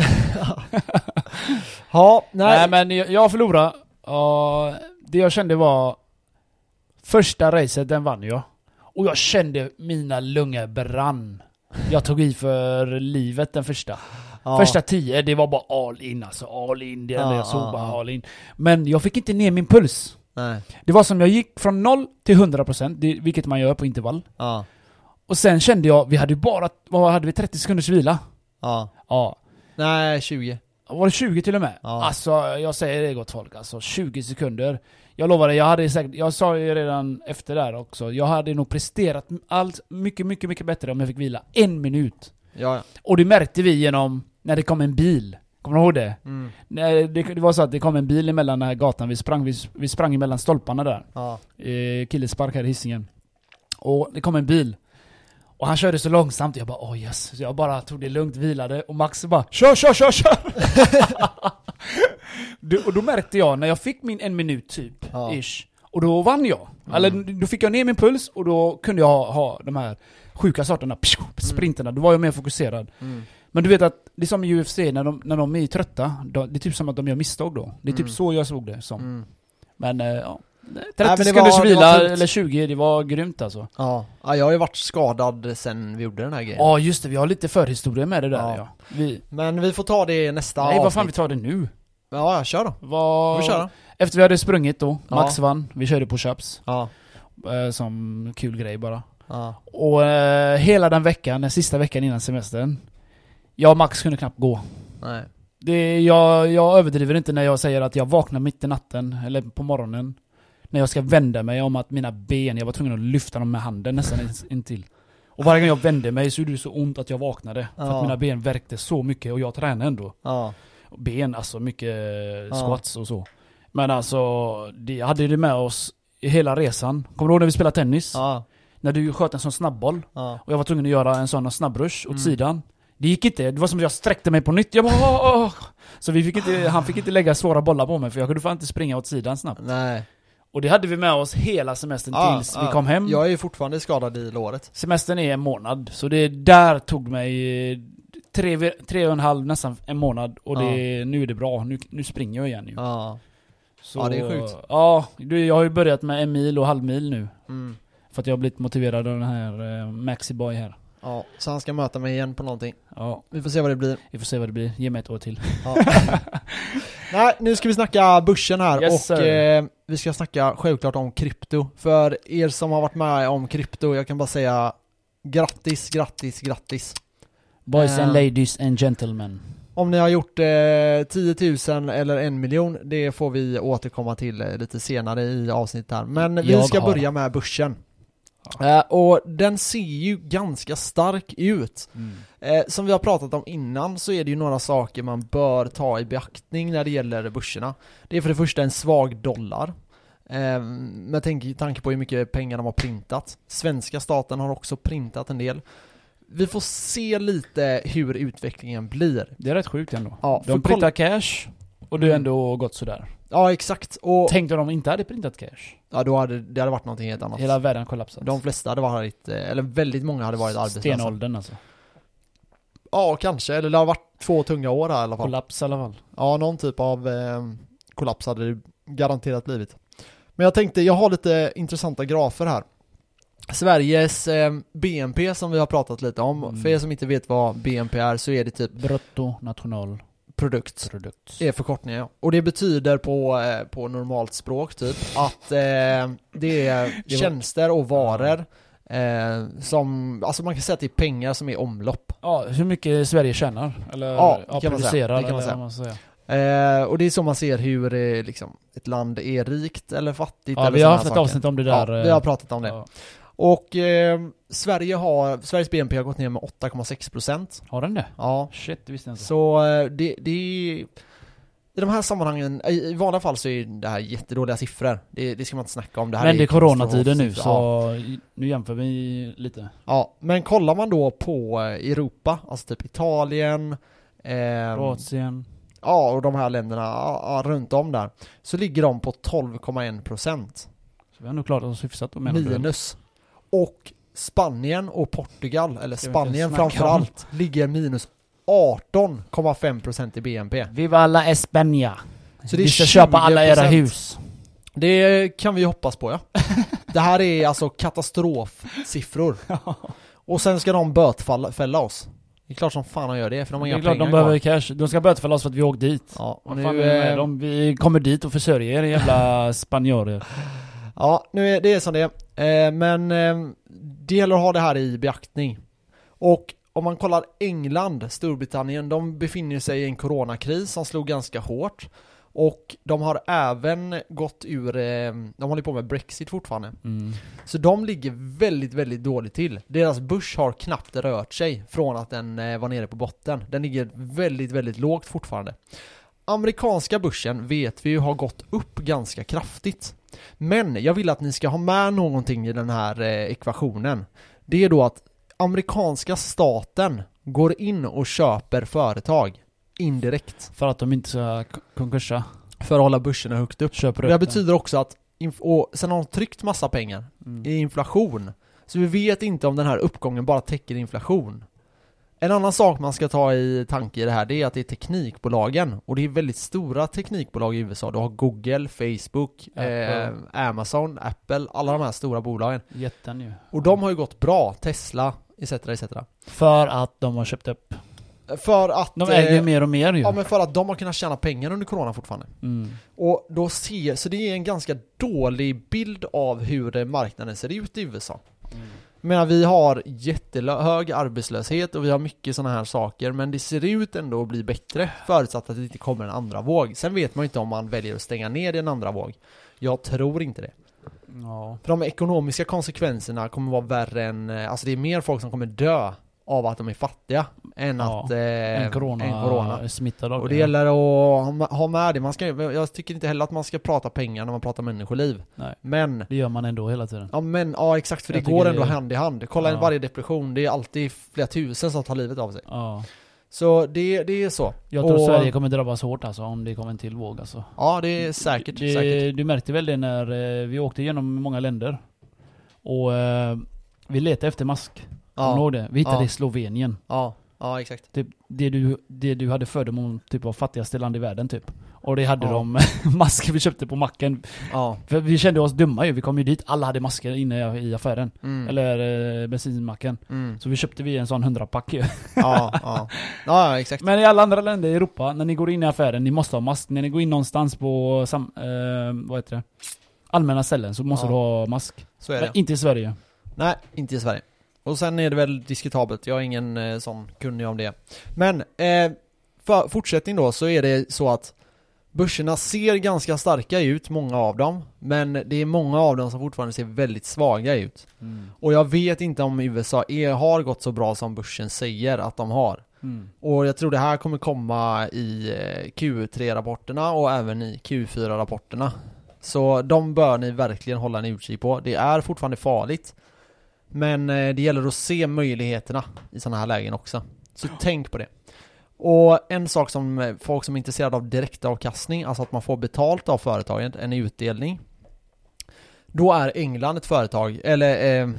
[SPEAKER 1] Ja, nej.
[SPEAKER 2] Nej, men jag, jag förlorade. Och det jag kände var... Första racet, den vann jag. Och jag kände mina lungor brann. Jag tog i för livet den första.
[SPEAKER 1] ja.
[SPEAKER 2] Första tio, det var bara all in alltså. All in, det enda
[SPEAKER 1] Ja,
[SPEAKER 2] jag såg
[SPEAKER 1] ja,
[SPEAKER 2] bara
[SPEAKER 1] ja.
[SPEAKER 2] all in. Men jag fick inte ner min puls.
[SPEAKER 1] Nej.
[SPEAKER 2] Det var som jag gick från 0 till 100%, det- vilket man gör på intervall.
[SPEAKER 1] Ja.
[SPEAKER 2] Och sen kände jag, vi hade ju bara, vad hade vi, 30 sekunders vila?
[SPEAKER 1] Ja.
[SPEAKER 2] Ja.
[SPEAKER 1] Nej, 20.
[SPEAKER 2] Var det 20 till och med?
[SPEAKER 1] Ja.
[SPEAKER 2] Alltså jag säger det gott folk, alltså 20 sekunder. Jag lovar dig, jag hade säkert, jag sa ju redan efter där också, jag hade nog presterat allt mycket, mycket, mycket bättre om jag fick vila en minut.
[SPEAKER 1] Ja, ja.
[SPEAKER 2] Och det märkte vi genom när det kom en bil. Kommer du ihåg det?
[SPEAKER 1] Mm.
[SPEAKER 2] När det? Det var så att det kom en bil emellan den här gatan vi sprang, vi, vi sprang emellan stolparna där.
[SPEAKER 1] Ja.
[SPEAKER 2] Eh, Killespark här i Hisingen. Och det kom en bil. Och han körde så långsamt, jag bara åh oh yes. Så jag bara tog det lugnt, vilade och Max bara kör, kör, kör, kör! du, och då märkte jag när jag fick min en minut typ,
[SPEAKER 1] Ja. Mm.
[SPEAKER 2] ish. Och då vann jag. Eller då fick jag ner min puls och då kunde jag ha, ha de här sjuka sorterna, pshu, sprinterna. Då var jag mer fokuserad.
[SPEAKER 1] Mm.
[SPEAKER 2] Men du vet att, det är som i UFC, när de, när de är trötta, då, det är typ som att de gör misstag då. Det är typ
[SPEAKER 1] Mm.
[SPEAKER 2] så jag såg det som.
[SPEAKER 1] Mm.
[SPEAKER 2] Men eh, ja. 30
[SPEAKER 1] men det
[SPEAKER 2] sekunders
[SPEAKER 1] var- det
[SPEAKER 2] vila,
[SPEAKER 1] var tungt.
[SPEAKER 2] eller 20, det var grymt alltså.
[SPEAKER 1] Ja. ja, jag har ju varit skadad sen vi gjorde den här grejen.
[SPEAKER 2] Ja just det, vi har lite förhistoria med det där ja.
[SPEAKER 1] Ja.
[SPEAKER 2] Vi,
[SPEAKER 1] Men vi får ta det i nästa
[SPEAKER 2] nej vad fan vi
[SPEAKER 1] avsnitt.
[SPEAKER 2] tar det nu.
[SPEAKER 1] Ja, ja, kör då.
[SPEAKER 2] Vad...
[SPEAKER 1] Vi kör då.
[SPEAKER 2] Efter vi hade sprungit då,
[SPEAKER 1] Ja.
[SPEAKER 2] Max vann, vi körde push-ups.
[SPEAKER 1] Ja.
[SPEAKER 2] Eh, som kul grej bara.
[SPEAKER 1] Ja.
[SPEAKER 2] Och eh, hela den veckan, den sista veckan innan semestern. Jag och Max kunde knappt gå.
[SPEAKER 1] Nej.
[SPEAKER 2] Det, jag, jag överdriver inte när jag säger att jag vaknar mitt i natten, eller på morgonen. När jag ska vända mig om att mina ben, jag var tvungen att lyfta dem med handen nästan in- intill. Och varje gång jag vände mig så gjorde det så ont att jag vaknade. För att
[SPEAKER 1] Ja.
[SPEAKER 2] mina ben värkte så mycket och jag tränade ändå.
[SPEAKER 1] Ja.
[SPEAKER 2] Och Ben, alltså mycket
[SPEAKER 1] Ja.
[SPEAKER 2] squats och så. Men alltså, det, jag hade det med oss i hela resan. Kommer du ihåg när vi spelade tennis?
[SPEAKER 1] Ja.
[SPEAKER 2] När du sköt en sån snabbboll.
[SPEAKER 1] Ja.
[SPEAKER 2] Och jag var tvungen att göra en sån snabbrush åt
[SPEAKER 1] Mm.
[SPEAKER 2] sidan. Det gick inte, det var som att jag sträckte mig på nytt. Jag bara, åh, åh. Så vi fick inte, han fick inte lägga svåra bollar på mig för jag kunde fan inte springa åt sidan snabbt.
[SPEAKER 1] Nej.
[SPEAKER 2] Och det hade vi med oss hela semestern
[SPEAKER 1] Ja,
[SPEAKER 2] tills
[SPEAKER 1] ja.
[SPEAKER 2] vi kom hem.
[SPEAKER 1] Ah, Jag är ju fortfarande skadad i låret.
[SPEAKER 2] Semestern är en månad, så det där tog mig eh, tre, ve- tre och en halv, nästan en månad. Och
[SPEAKER 1] Ah.
[SPEAKER 2] det, nu är det bra, nu, nu springer jag igen ju.
[SPEAKER 1] Ja.
[SPEAKER 2] Så,
[SPEAKER 1] Ja, det är sjukt.
[SPEAKER 2] Ja, du, jag har ju börjat med en mil och halvmil nu.
[SPEAKER 1] Mm.
[SPEAKER 2] För att jag har blivit motiverad av den här eh, Maxiboy här.
[SPEAKER 1] Ja, så han ska möta mig igen på någonting.
[SPEAKER 2] Ja,
[SPEAKER 1] Vi får se vad det blir.
[SPEAKER 2] vi får se vad det blir. Ge mig ett år till.
[SPEAKER 1] Ja. Nej, nu ska vi snacka börsen här
[SPEAKER 2] Yes,
[SPEAKER 1] och
[SPEAKER 2] sir.
[SPEAKER 1] eh, vi ska snacka självklart om krypto. För er som har varit med om krypto, jag kan bara säga grattis, grattis, grattis.
[SPEAKER 2] Boys and
[SPEAKER 1] Eh.
[SPEAKER 2] ladies and gentlemen.
[SPEAKER 1] Om ni har gjort eh, 10 000 eller en miljon, det får vi återkomma till eh, lite senare i avsnittet här. Men vi
[SPEAKER 2] Jag
[SPEAKER 1] ska
[SPEAKER 2] har.
[SPEAKER 1] börja med börsen. Eh, och den ser ju ganska stark ut.
[SPEAKER 2] Mm.
[SPEAKER 1] Eh, som vi har pratat om innan så är det ju några saker man bör ta i beaktning när det gäller börserna. Det är för det första en svag dollar. Eh, med tanke tanke på hur mycket pengar de har printat. Svenska staten har också printat en del. Vi får se lite hur utvecklingen blir.
[SPEAKER 2] Det är rätt sjukt ändå.
[SPEAKER 1] Ja, för
[SPEAKER 2] de
[SPEAKER 1] kolla-
[SPEAKER 2] printar cash och det har
[SPEAKER 1] Mm.
[SPEAKER 2] ändå gått sådär.
[SPEAKER 1] Ja, exakt. Och
[SPEAKER 2] Tänk om de inte hade printat cash.
[SPEAKER 1] ja, då hade det hade varit någonting helt annat.
[SPEAKER 2] Hela världen kollapsat.
[SPEAKER 1] De flesta hade varit, eh, eller väldigt många hade varit arbetslösa.
[SPEAKER 2] Stenåldern alltså.
[SPEAKER 1] Ja, kanske. Eller det har varit två tunga år här i alla fall.
[SPEAKER 2] Kollaps i alla fall.
[SPEAKER 1] Ja, någon typ av eh, kollaps hade det garanterat blivit. Men jag tänkte, jag har lite intressanta grafer här. Sveriges eh, BNP som vi har pratat lite om.
[SPEAKER 2] Mm.
[SPEAKER 1] För er som inte vet vad BNP är så är det typ
[SPEAKER 2] Bruttonationalprodukt.
[SPEAKER 1] produkt. är förkortningen ja. Och det betyder på, eh, på normalt språk typ att eh, det är tjänster och varor eh, som, alltså man kan säga att det är pengar som är i omlopp.
[SPEAKER 2] Ja, hur mycket Sverige tjänar. Eller
[SPEAKER 1] Ja, det kan man säga.
[SPEAKER 2] producerar.
[SPEAKER 1] Det kan man
[SPEAKER 2] eller
[SPEAKER 1] säga.
[SPEAKER 2] vad man ska säga.
[SPEAKER 1] Eh, och det är så man ser hur eh, liksom, ett land är rikt eller fattigt
[SPEAKER 2] Ja,
[SPEAKER 1] eller
[SPEAKER 2] vi har
[SPEAKER 1] såna
[SPEAKER 2] haft
[SPEAKER 1] här
[SPEAKER 2] ett
[SPEAKER 1] saker.
[SPEAKER 2] avsnitt om det där.
[SPEAKER 1] Ja,
[SPEAKER 2] eh,
[SPEAKER 1] vi har pratat om det.
[SPEAKER 2] ja.
[SPEAKER 1] Och eh, Sverige har, Sveriges BNP har gått ner med 8,6 procent.
[SPEAKER 2] Har den det?
[SPEAKER 1] Ja,
[SPEAKER 2] Shit, det visste jag inte.
[SPEAKER 1] så eh, det, det är... I de här sammanhangen, i i vanliga fall så är det här jättedåliga siffror. Det, det ska man inte snacka om. Det här
[SPEAKER 2] Men det är coronatiden nu
[SPEAKER 1] katastrofsiffror.
[SPEAKER 2] så i- nu jämför vi lite.
[SPEAKER 1] Ja, ja, men kollar man då på eh, Europa, alltså typ Italien, ehm,
[SPEAKER 2] Kroatien.
[SPEAKER 1] ja och de här länderna ja, ja, runt om där, så ligger de på 12,1 procent.
[SPEAKER 2] Så vi har nog klarat oss hyfsat då menar du? eller?
[SPEAKER 1] minus. Och Spanien och Portugal, eller
[SPEAKER 2] Ska vi inte
[SPEAKER 1] Spanien
[SPEAKER 2] snacka om.
[SPEAKER 1] framförallt, ligger minus 18,5% i BNP.
[SPEAKER 2] Viva alla Espanja!
[SPEAKER 1] Så det är
[SPEAKER 2] vi ska köpa alla era
[SPEAKER 1] 20%.
[SPEAKER 2] hus.
[SPEAKER 1] Det kan vi hoppas på ja. Det här är alltså katastrofsiffror. Och sen ska de bötfälla oss. Det är klart som fan de gör det, för de har
[SPEAKER 2] Det är
[SPEAKER 1] inga
[SPEAKER 2] klart
[SPEAKER 1] pengar
[SPEAKER 2] de behöver cash. De ska bötfälla oss för att vi åkte dit.
[SPEAKER 1] Ja, och
[SPEAKER 2] Vad fan
[SPEAKER 1] nu,
[SPEAKER 2] är det med
[SPEAKER 1] eh,
[SPEAKER 2] dem? Vi kommer dit och försörjer er jävla spanjorer.
[SPEAKER 1] Ja, nu är det är som det är. Eh, Men eh, det gäller att ha det här i beaktning. Och om man kollar England, Storbritannien, de befinner sig i en coronakris som slog ganska hårt. Och de har även gått ur, eh, de håller på med Brexit fortfarande.
[SPEAKER 2] Mm.
[SPEAKER 1] Så de ligger väldigt, väldigt dåligt till. Deras börs har knappt rört sig från att den eh, var nere på botten. Den ligger väldigt, väldigt lågt fortfarande. Amerikanska börsen vet vi ju har gått upp ganska kraftigt. Men jag vill att ni ska ha med någonting i den här eh, ekvationen. Det är då att amerikanska staten går in och köper företag indirekt
[SPEAKER 2] För att de inte ska k- konkursa.
[SPEAKER 1] för att hålla börserna högt upp.
[SPEAKER 2] Köper upp
[SPEAKER 1] Det här
[SPEAKER 2] den.
[SPEAKER 1] betyder också att, inf- och sen har de tryckt massa pengar
[SPEAKER 2] Mm.
[SPEAKER 1] i inflation. Så vi vet inte om den här uppgången bara täcker inflation. En annan sak man ska ta i tanke i det här, det är att det är teknikbolagen. Och det är väldigt stora teknikbolag i USA. Du har Google, Facebook,
[SPEAKER 2] Apple.
[SPEAKER 1] eh, Amazon, Apple, alla de här stora bolagen.
[SPEAKER 2] Jätten ju.
[SPEAKER 1] Och de har ju gått bra, Tesla, etc. etc.
[SPEAKER 2] För att de har köpt upp.
[SPEAKER 1] För att,
[SPEAKER 2] De äger ju
[SPEAKER 1] eh,
[SPEAKER 2] mer och mer ju.
[SPEAKER 1] ja, men för att de har kunnat tjäna pengar under corona fortfarande.
[SPEAKER 2] Mm.
[SPEAKER 1] Och då ser, så det är en ganska dålig bild av hur eh, marknaden ser ut i USA. Men vi har jättehög arbetslöshet och vi har mycket sådana här saker men det ser ut ändå att bli bättre förutsatt att det inte kommer en andra våg. Sen vet man ju inte om man väljer att stänga ner i en andra våg. Jag tror inte det.
[SPEAKER 2] Ja.
[SPEAKER 1] För de ekonomiska konsekvenserna kommer vara värre än, eh, alltså det är mer folk som kommer dö av att de är fattiga än
[SPEAKER 2] Ja,
[SPEAKER 1] att... Eh,
[SPEAKER 2] En corona,
[SPEAKER 1] Än corona.
[SPEAKER 2] smittad av
[SPEAKER 1] Och det gäller att ha ma- ha med det. Man ska, jag tycker inte heller att man ska prata pengar när man pratar människoliv.
[SPEAKER 2] Nej.
[SPEAKER 1] Men,
[SPEAKER 2] Det gör man ändå hela tiden.
[SPEAKER 1] ja men, ja exakt för
[SPEAKER 2] Jag
[SPEAKER 1] det går
[SPEAKER 2] tycker
[SPEAKER 1] ändå
[SPEAKER 2] det-
[SPEAKER 1] hand i hand. Kolla
[SPEAKER 2] Ja.
[SPEAKER 1] varje depression, det är alltid flera tusen som tar livet av sig.
[SPEAKER 2] Ja.
[SPEAKER 1] Så det, det är så.
[SPEAKER 2] Jag tror
[SPEAKER 1] Och-
[SPEAKER 2] Sverige kommer drabbas hårt alltså om det kommer en till våg alltså.
[SPEAKER 1] Ja det är säkert,
[SPEAKER 2] det,
[SPEAKER 1] säkert.
[SPEAKER 2] Du märkte väl det när eh, vi åkte genom många länder. Och eh, vi letade efter mask. Kommer
[SPEAKER 1] Ja,
[SPEAKER 2] du ihåg det? Vi hittade
[SPEAKER 1] Ja.
[SPEAKER 2] i Slovenien.
[SPEAKER 1] ja, ja exakt.
[SPEAKER 2] Typ, det, du, det du hade fördom om typ var fattigaste land i världen typ. Och det hade
[SPEAKER 1] Ja.
[SPEAKER 2] de masker vi köpte på macken.
[SPEAKER 1] Ja.
[SPEAKER 2] För vi kände oss dumma ju. Vi kom ju dit, alla hade masker inne i affären.
[SPEAKER 1] Mm.
[SPEAKER 2] Eller eh, bensinmacken.
[SPEAKER 1] Mm.
[SPEAKER 2] Så vi köpte vi en sån hundrapack ju.
[SPEAKER 1] Ja, ja. ja, exakt.
[SPEAKER 2] Men i alla andra länder i Europa, när ni går in i affären, ni måste ha mask. När ni går in någonstans på sam, eh, vad heter det? allmänna ställen så måste
[SPEAKER 1] Ja.
[SPEAKER 2] du ha mask.
[SPEAKER 1] Så är
[SPEAKER 2] Men
[SPEAKER 1] det.
[SPEAKER 2] inte i Sverige.
[SPEAKER 1] Nej, inte i Sverige. Och sen är det väl diskutabelt, jag är ingen eh, sån kunnig om det. Men eh, för fortsättning då så är det så att börserna ser ganska starka ut, många av dem. Men det är många av dem som fortfarande ser väldigt svaga ut. Och jag vet inte om USA är, har gått så bra som börsen säger att de har. Och jag tror det här kommer komma i eh, Q3-rapporterna och även i Q4-rapporterna. Så de bör ni verkligen hålla en utkik på. Det är fortfarande farligt. Men eh, det gäller att se möjligheterna i sådana här lägen också. Så tänk på det. Och en sak som eh, folk som är intresserade av direktavkastning, alltså att man får betalt av företaget, en utdelning. Då är England ett företag, eller eh,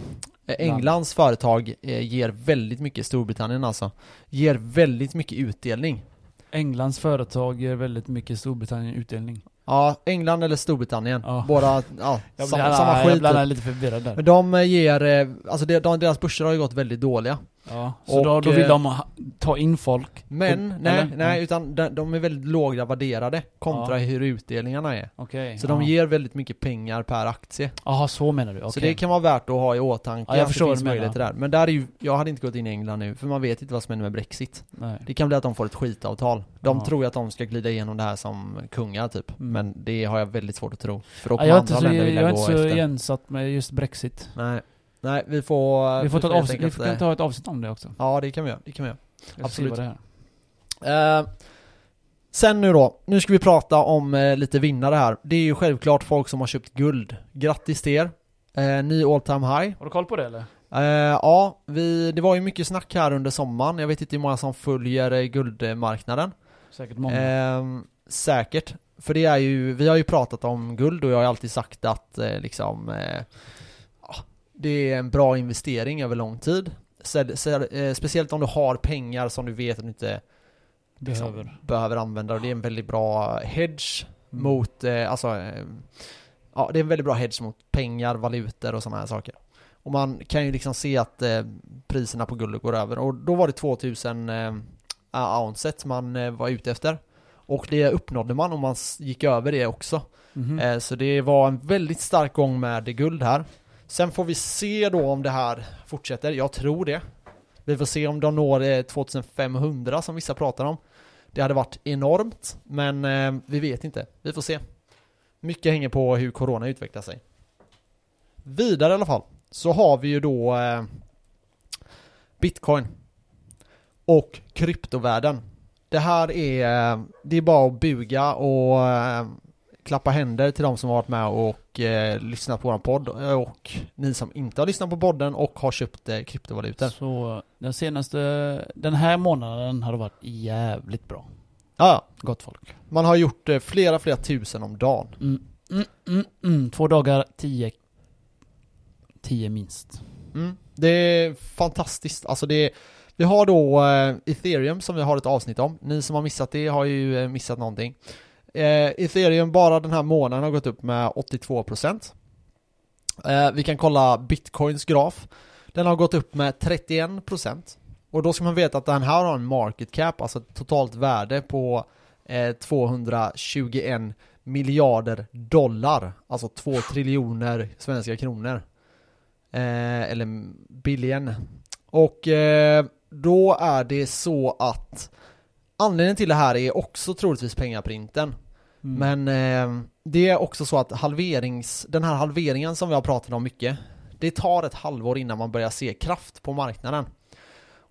[SPEAKER 1] Englands företag eh, ger väldigt mycket, Storbritannien alltså ger väldigt mycket utdelning.
[SPEAKER 2] Englands företag ger väldigt mycket Storbritannien utdelning.
[SPEAKER 1] Ja, England eller Storbritannien.
[SPEAKER 2] Ja.
[SPEAKER 1] Båda, ja,
[SPEAKER 2] Jag
[SPEAKER 1] samma,
[SPEAKER 2] blir-
[SPEAKER 1] samma
[SPEAKER 2] jag
[SPEAKER 1] skit.
[SPEAKER 2] blir
[SPEAKER 1] typ.
[SPEAKER 2] lite förvirrad där.
[SPEAKER 1] eh, Men de ger, eh, alltså de, de, deras börser har ju gått väldigt dåliga.
[SPEAKER 2] Ja, så
[SPEAKER 1] Och,
[SPEAKER 2] då, då vill
[SPEAKER 1] eh,
[SPEAKER 2] de ha- ta in folk.
[SPEAKER 1] Men
[SPEAKER 2] Eller?
[SPEAKER 1] nej,
[SPEAKER 2] Mm.
[SPEAKER 1] nej, utan de, de är väldigt lågt värderade kontra
[SPEAKER 2] Ja.
[SPEAKER 1] hur utdelningarna är.
[SPEAKER 2] Okej.
[SPEAKER 1] Så de
[SPEAKER 2] ja.
[SPEAKER 1] ger väldigt mycket pengar per aktie.
[SPEAKER 2] Jaha, så menar du? Okej.
[SPEAKER 1] Så det kan vara värt att ha i åtanke.
[SPEAKER 2] Ja, jag
[SPEAKER 1] att det
[SPEAKER 2] förstår vad
[SPEAKER 1] finns
[SPEAKER 2] du menar.
[SPEAKER 1] möjligheter där. Men där är ju, jag hade inte gått in i England nu, för man vet inte vad som händer med Brexit.
[SPEAKER 2] Nej.
[SPEAKER 1] Det kan bli att de får ett skitavtal. De
[SPEAKER 2] Ja.
[SPEAKER 1] tror ju att de ska glida igenom det här som kungar typ.
[SPEAKER 2] Mm.
[SPEAKER 1] Men det har jag väldigt svårt att tro. För då
[SPEAKER 2] Ja,
[SPEAKER 1] kommer
[SPEAKER 2] jag är inte
[SPEAKER 1] andra
[SPEAKER 2] så,
[SPEAKER 1] länder
[SPEAKER 2] jag
[SPEAKER 1] vilja
[SPEAKER 2] är
[SPEAKER 1] gå
[SPEAKER 2] inte så
[SPEAKER 1] efter.
[SPEAKER 2] igensatt med just Brexit.
[SPEAKER 1] Nej. Nej, vi får...
[SPEAKER 2] Vi får, ta ett
[SPEAKER 1] helt
[SPEAKER 2] avsnitt, vi
[SPEAKER 1] enkelt,
[SPEAKER 2] får kan
[SPEAKER 1] eh,
[SPEAKER 2] ta ett avsnitt om det också.
[SPEAKER 1] Ja, det kan vi göra. Det kan vi göra.
[SPEAKER 2] Jag ska se
[SPEAKER 1] Absolut.
[SPEAKER 2] vad Det här.
[SPEAKER 1] Eh, sen nu då, nu ska vi prata om eh, lite vinnare här. Det är ju självklart folk som har köpt guld. Grattis till er! Eh, ny all time high.
[SPEAKER 2] Har du koll på det eller?
[SPEAKER 1] Eh, ja, vi, det var ju mycket snack här under sommaren. Jag vet inte hur många som följer eh, guldmarknaden.
[SPEAKER 2] Säkert många.
[SPEAKER 1] Eh, säkert. För det är ju, vi har ju pratat om guld och jag har ju alltid sagt att eh, liksom eh, ja, det är en bra investering över lång tid. Sär, sär, eh, speciellt om du har pengar som du vet att du inte liksom,
[SPEAKER 2] Behöver.
[SPEAKER 1] behöver använda och det är en väldigt bra hedge
[SPEAKER 2] Mm.
[SPEAKER 1] mot, eh, alltså, eh, ja det är en väldigt bra hedge mot pengar, valutor och sådana här saker. Och man kan ju liksom se att eh, priserna på guld går över och då var det 2000 eh, ounset man eh, var ute efter. Och det uppnådde man och man s- gick över det också.
[SPEAKER 2] Mhm.
[SPEAKER 1] Eh, så det var en väldigt stark gång med guld här. Sen får vi se då om det här fortsätter. Jag tror det. Vi får se om de når eh, 2500 som vissa pratar om. Det hade varit enormt, men eh, vi vet inte. Vi får se. Mycket hänger på hur corona utvecklar sig. Vidare i alla fall så har vi ju då eh, bitcoin och kryptovärden. Det här är, eh, det är bara att buga och eh, klappa händer till de som har varit med och eh, lyssnat på vår podd och ni som inte har lyssnat på podden och har köpt eh, kryptovalutor.
[SPEAKER 2] Så den senaste, den här månaden har det varit jävligt bra.
[SPEAKER 1] Ja, ja.
[SPEAKER 2] Gott folk.
[SPEAKER 1] Man har gjort eh, flera, flera tusen om dagen.
[SPEAKER 2] Mm, mm, mm, mm. Två dagar, tio. Tio minst.
[SPEAKER 1] Mm. Det är fantastiskt. Alltså det är, vi har då eh, ethereum som vi har ett avsnitt om. Ni som har missat det har ju eh, missat någonting. Eh, ethereum bara den här månaden har gått upp med 82%. Eh, vi kan kolla bitcoins graf. Den har gått upp med 31%. Och då ska man veta att den här har en market cap, alltså ett totalt värde på eh, 221 miljarder dollar. Alltså 2 triljoner svenska kronor. Eh, eller billion. Och eh, då är det så att anledningen till det här är också troligtvis pengaprinten.
[SPEAKER 2] Mm.
[SPEAKER 1] Men eh, det är också så att halverings, den här halveringen som vi har pratat om mycket, det tar ett halvår innan man börjar se kraft på marknaden.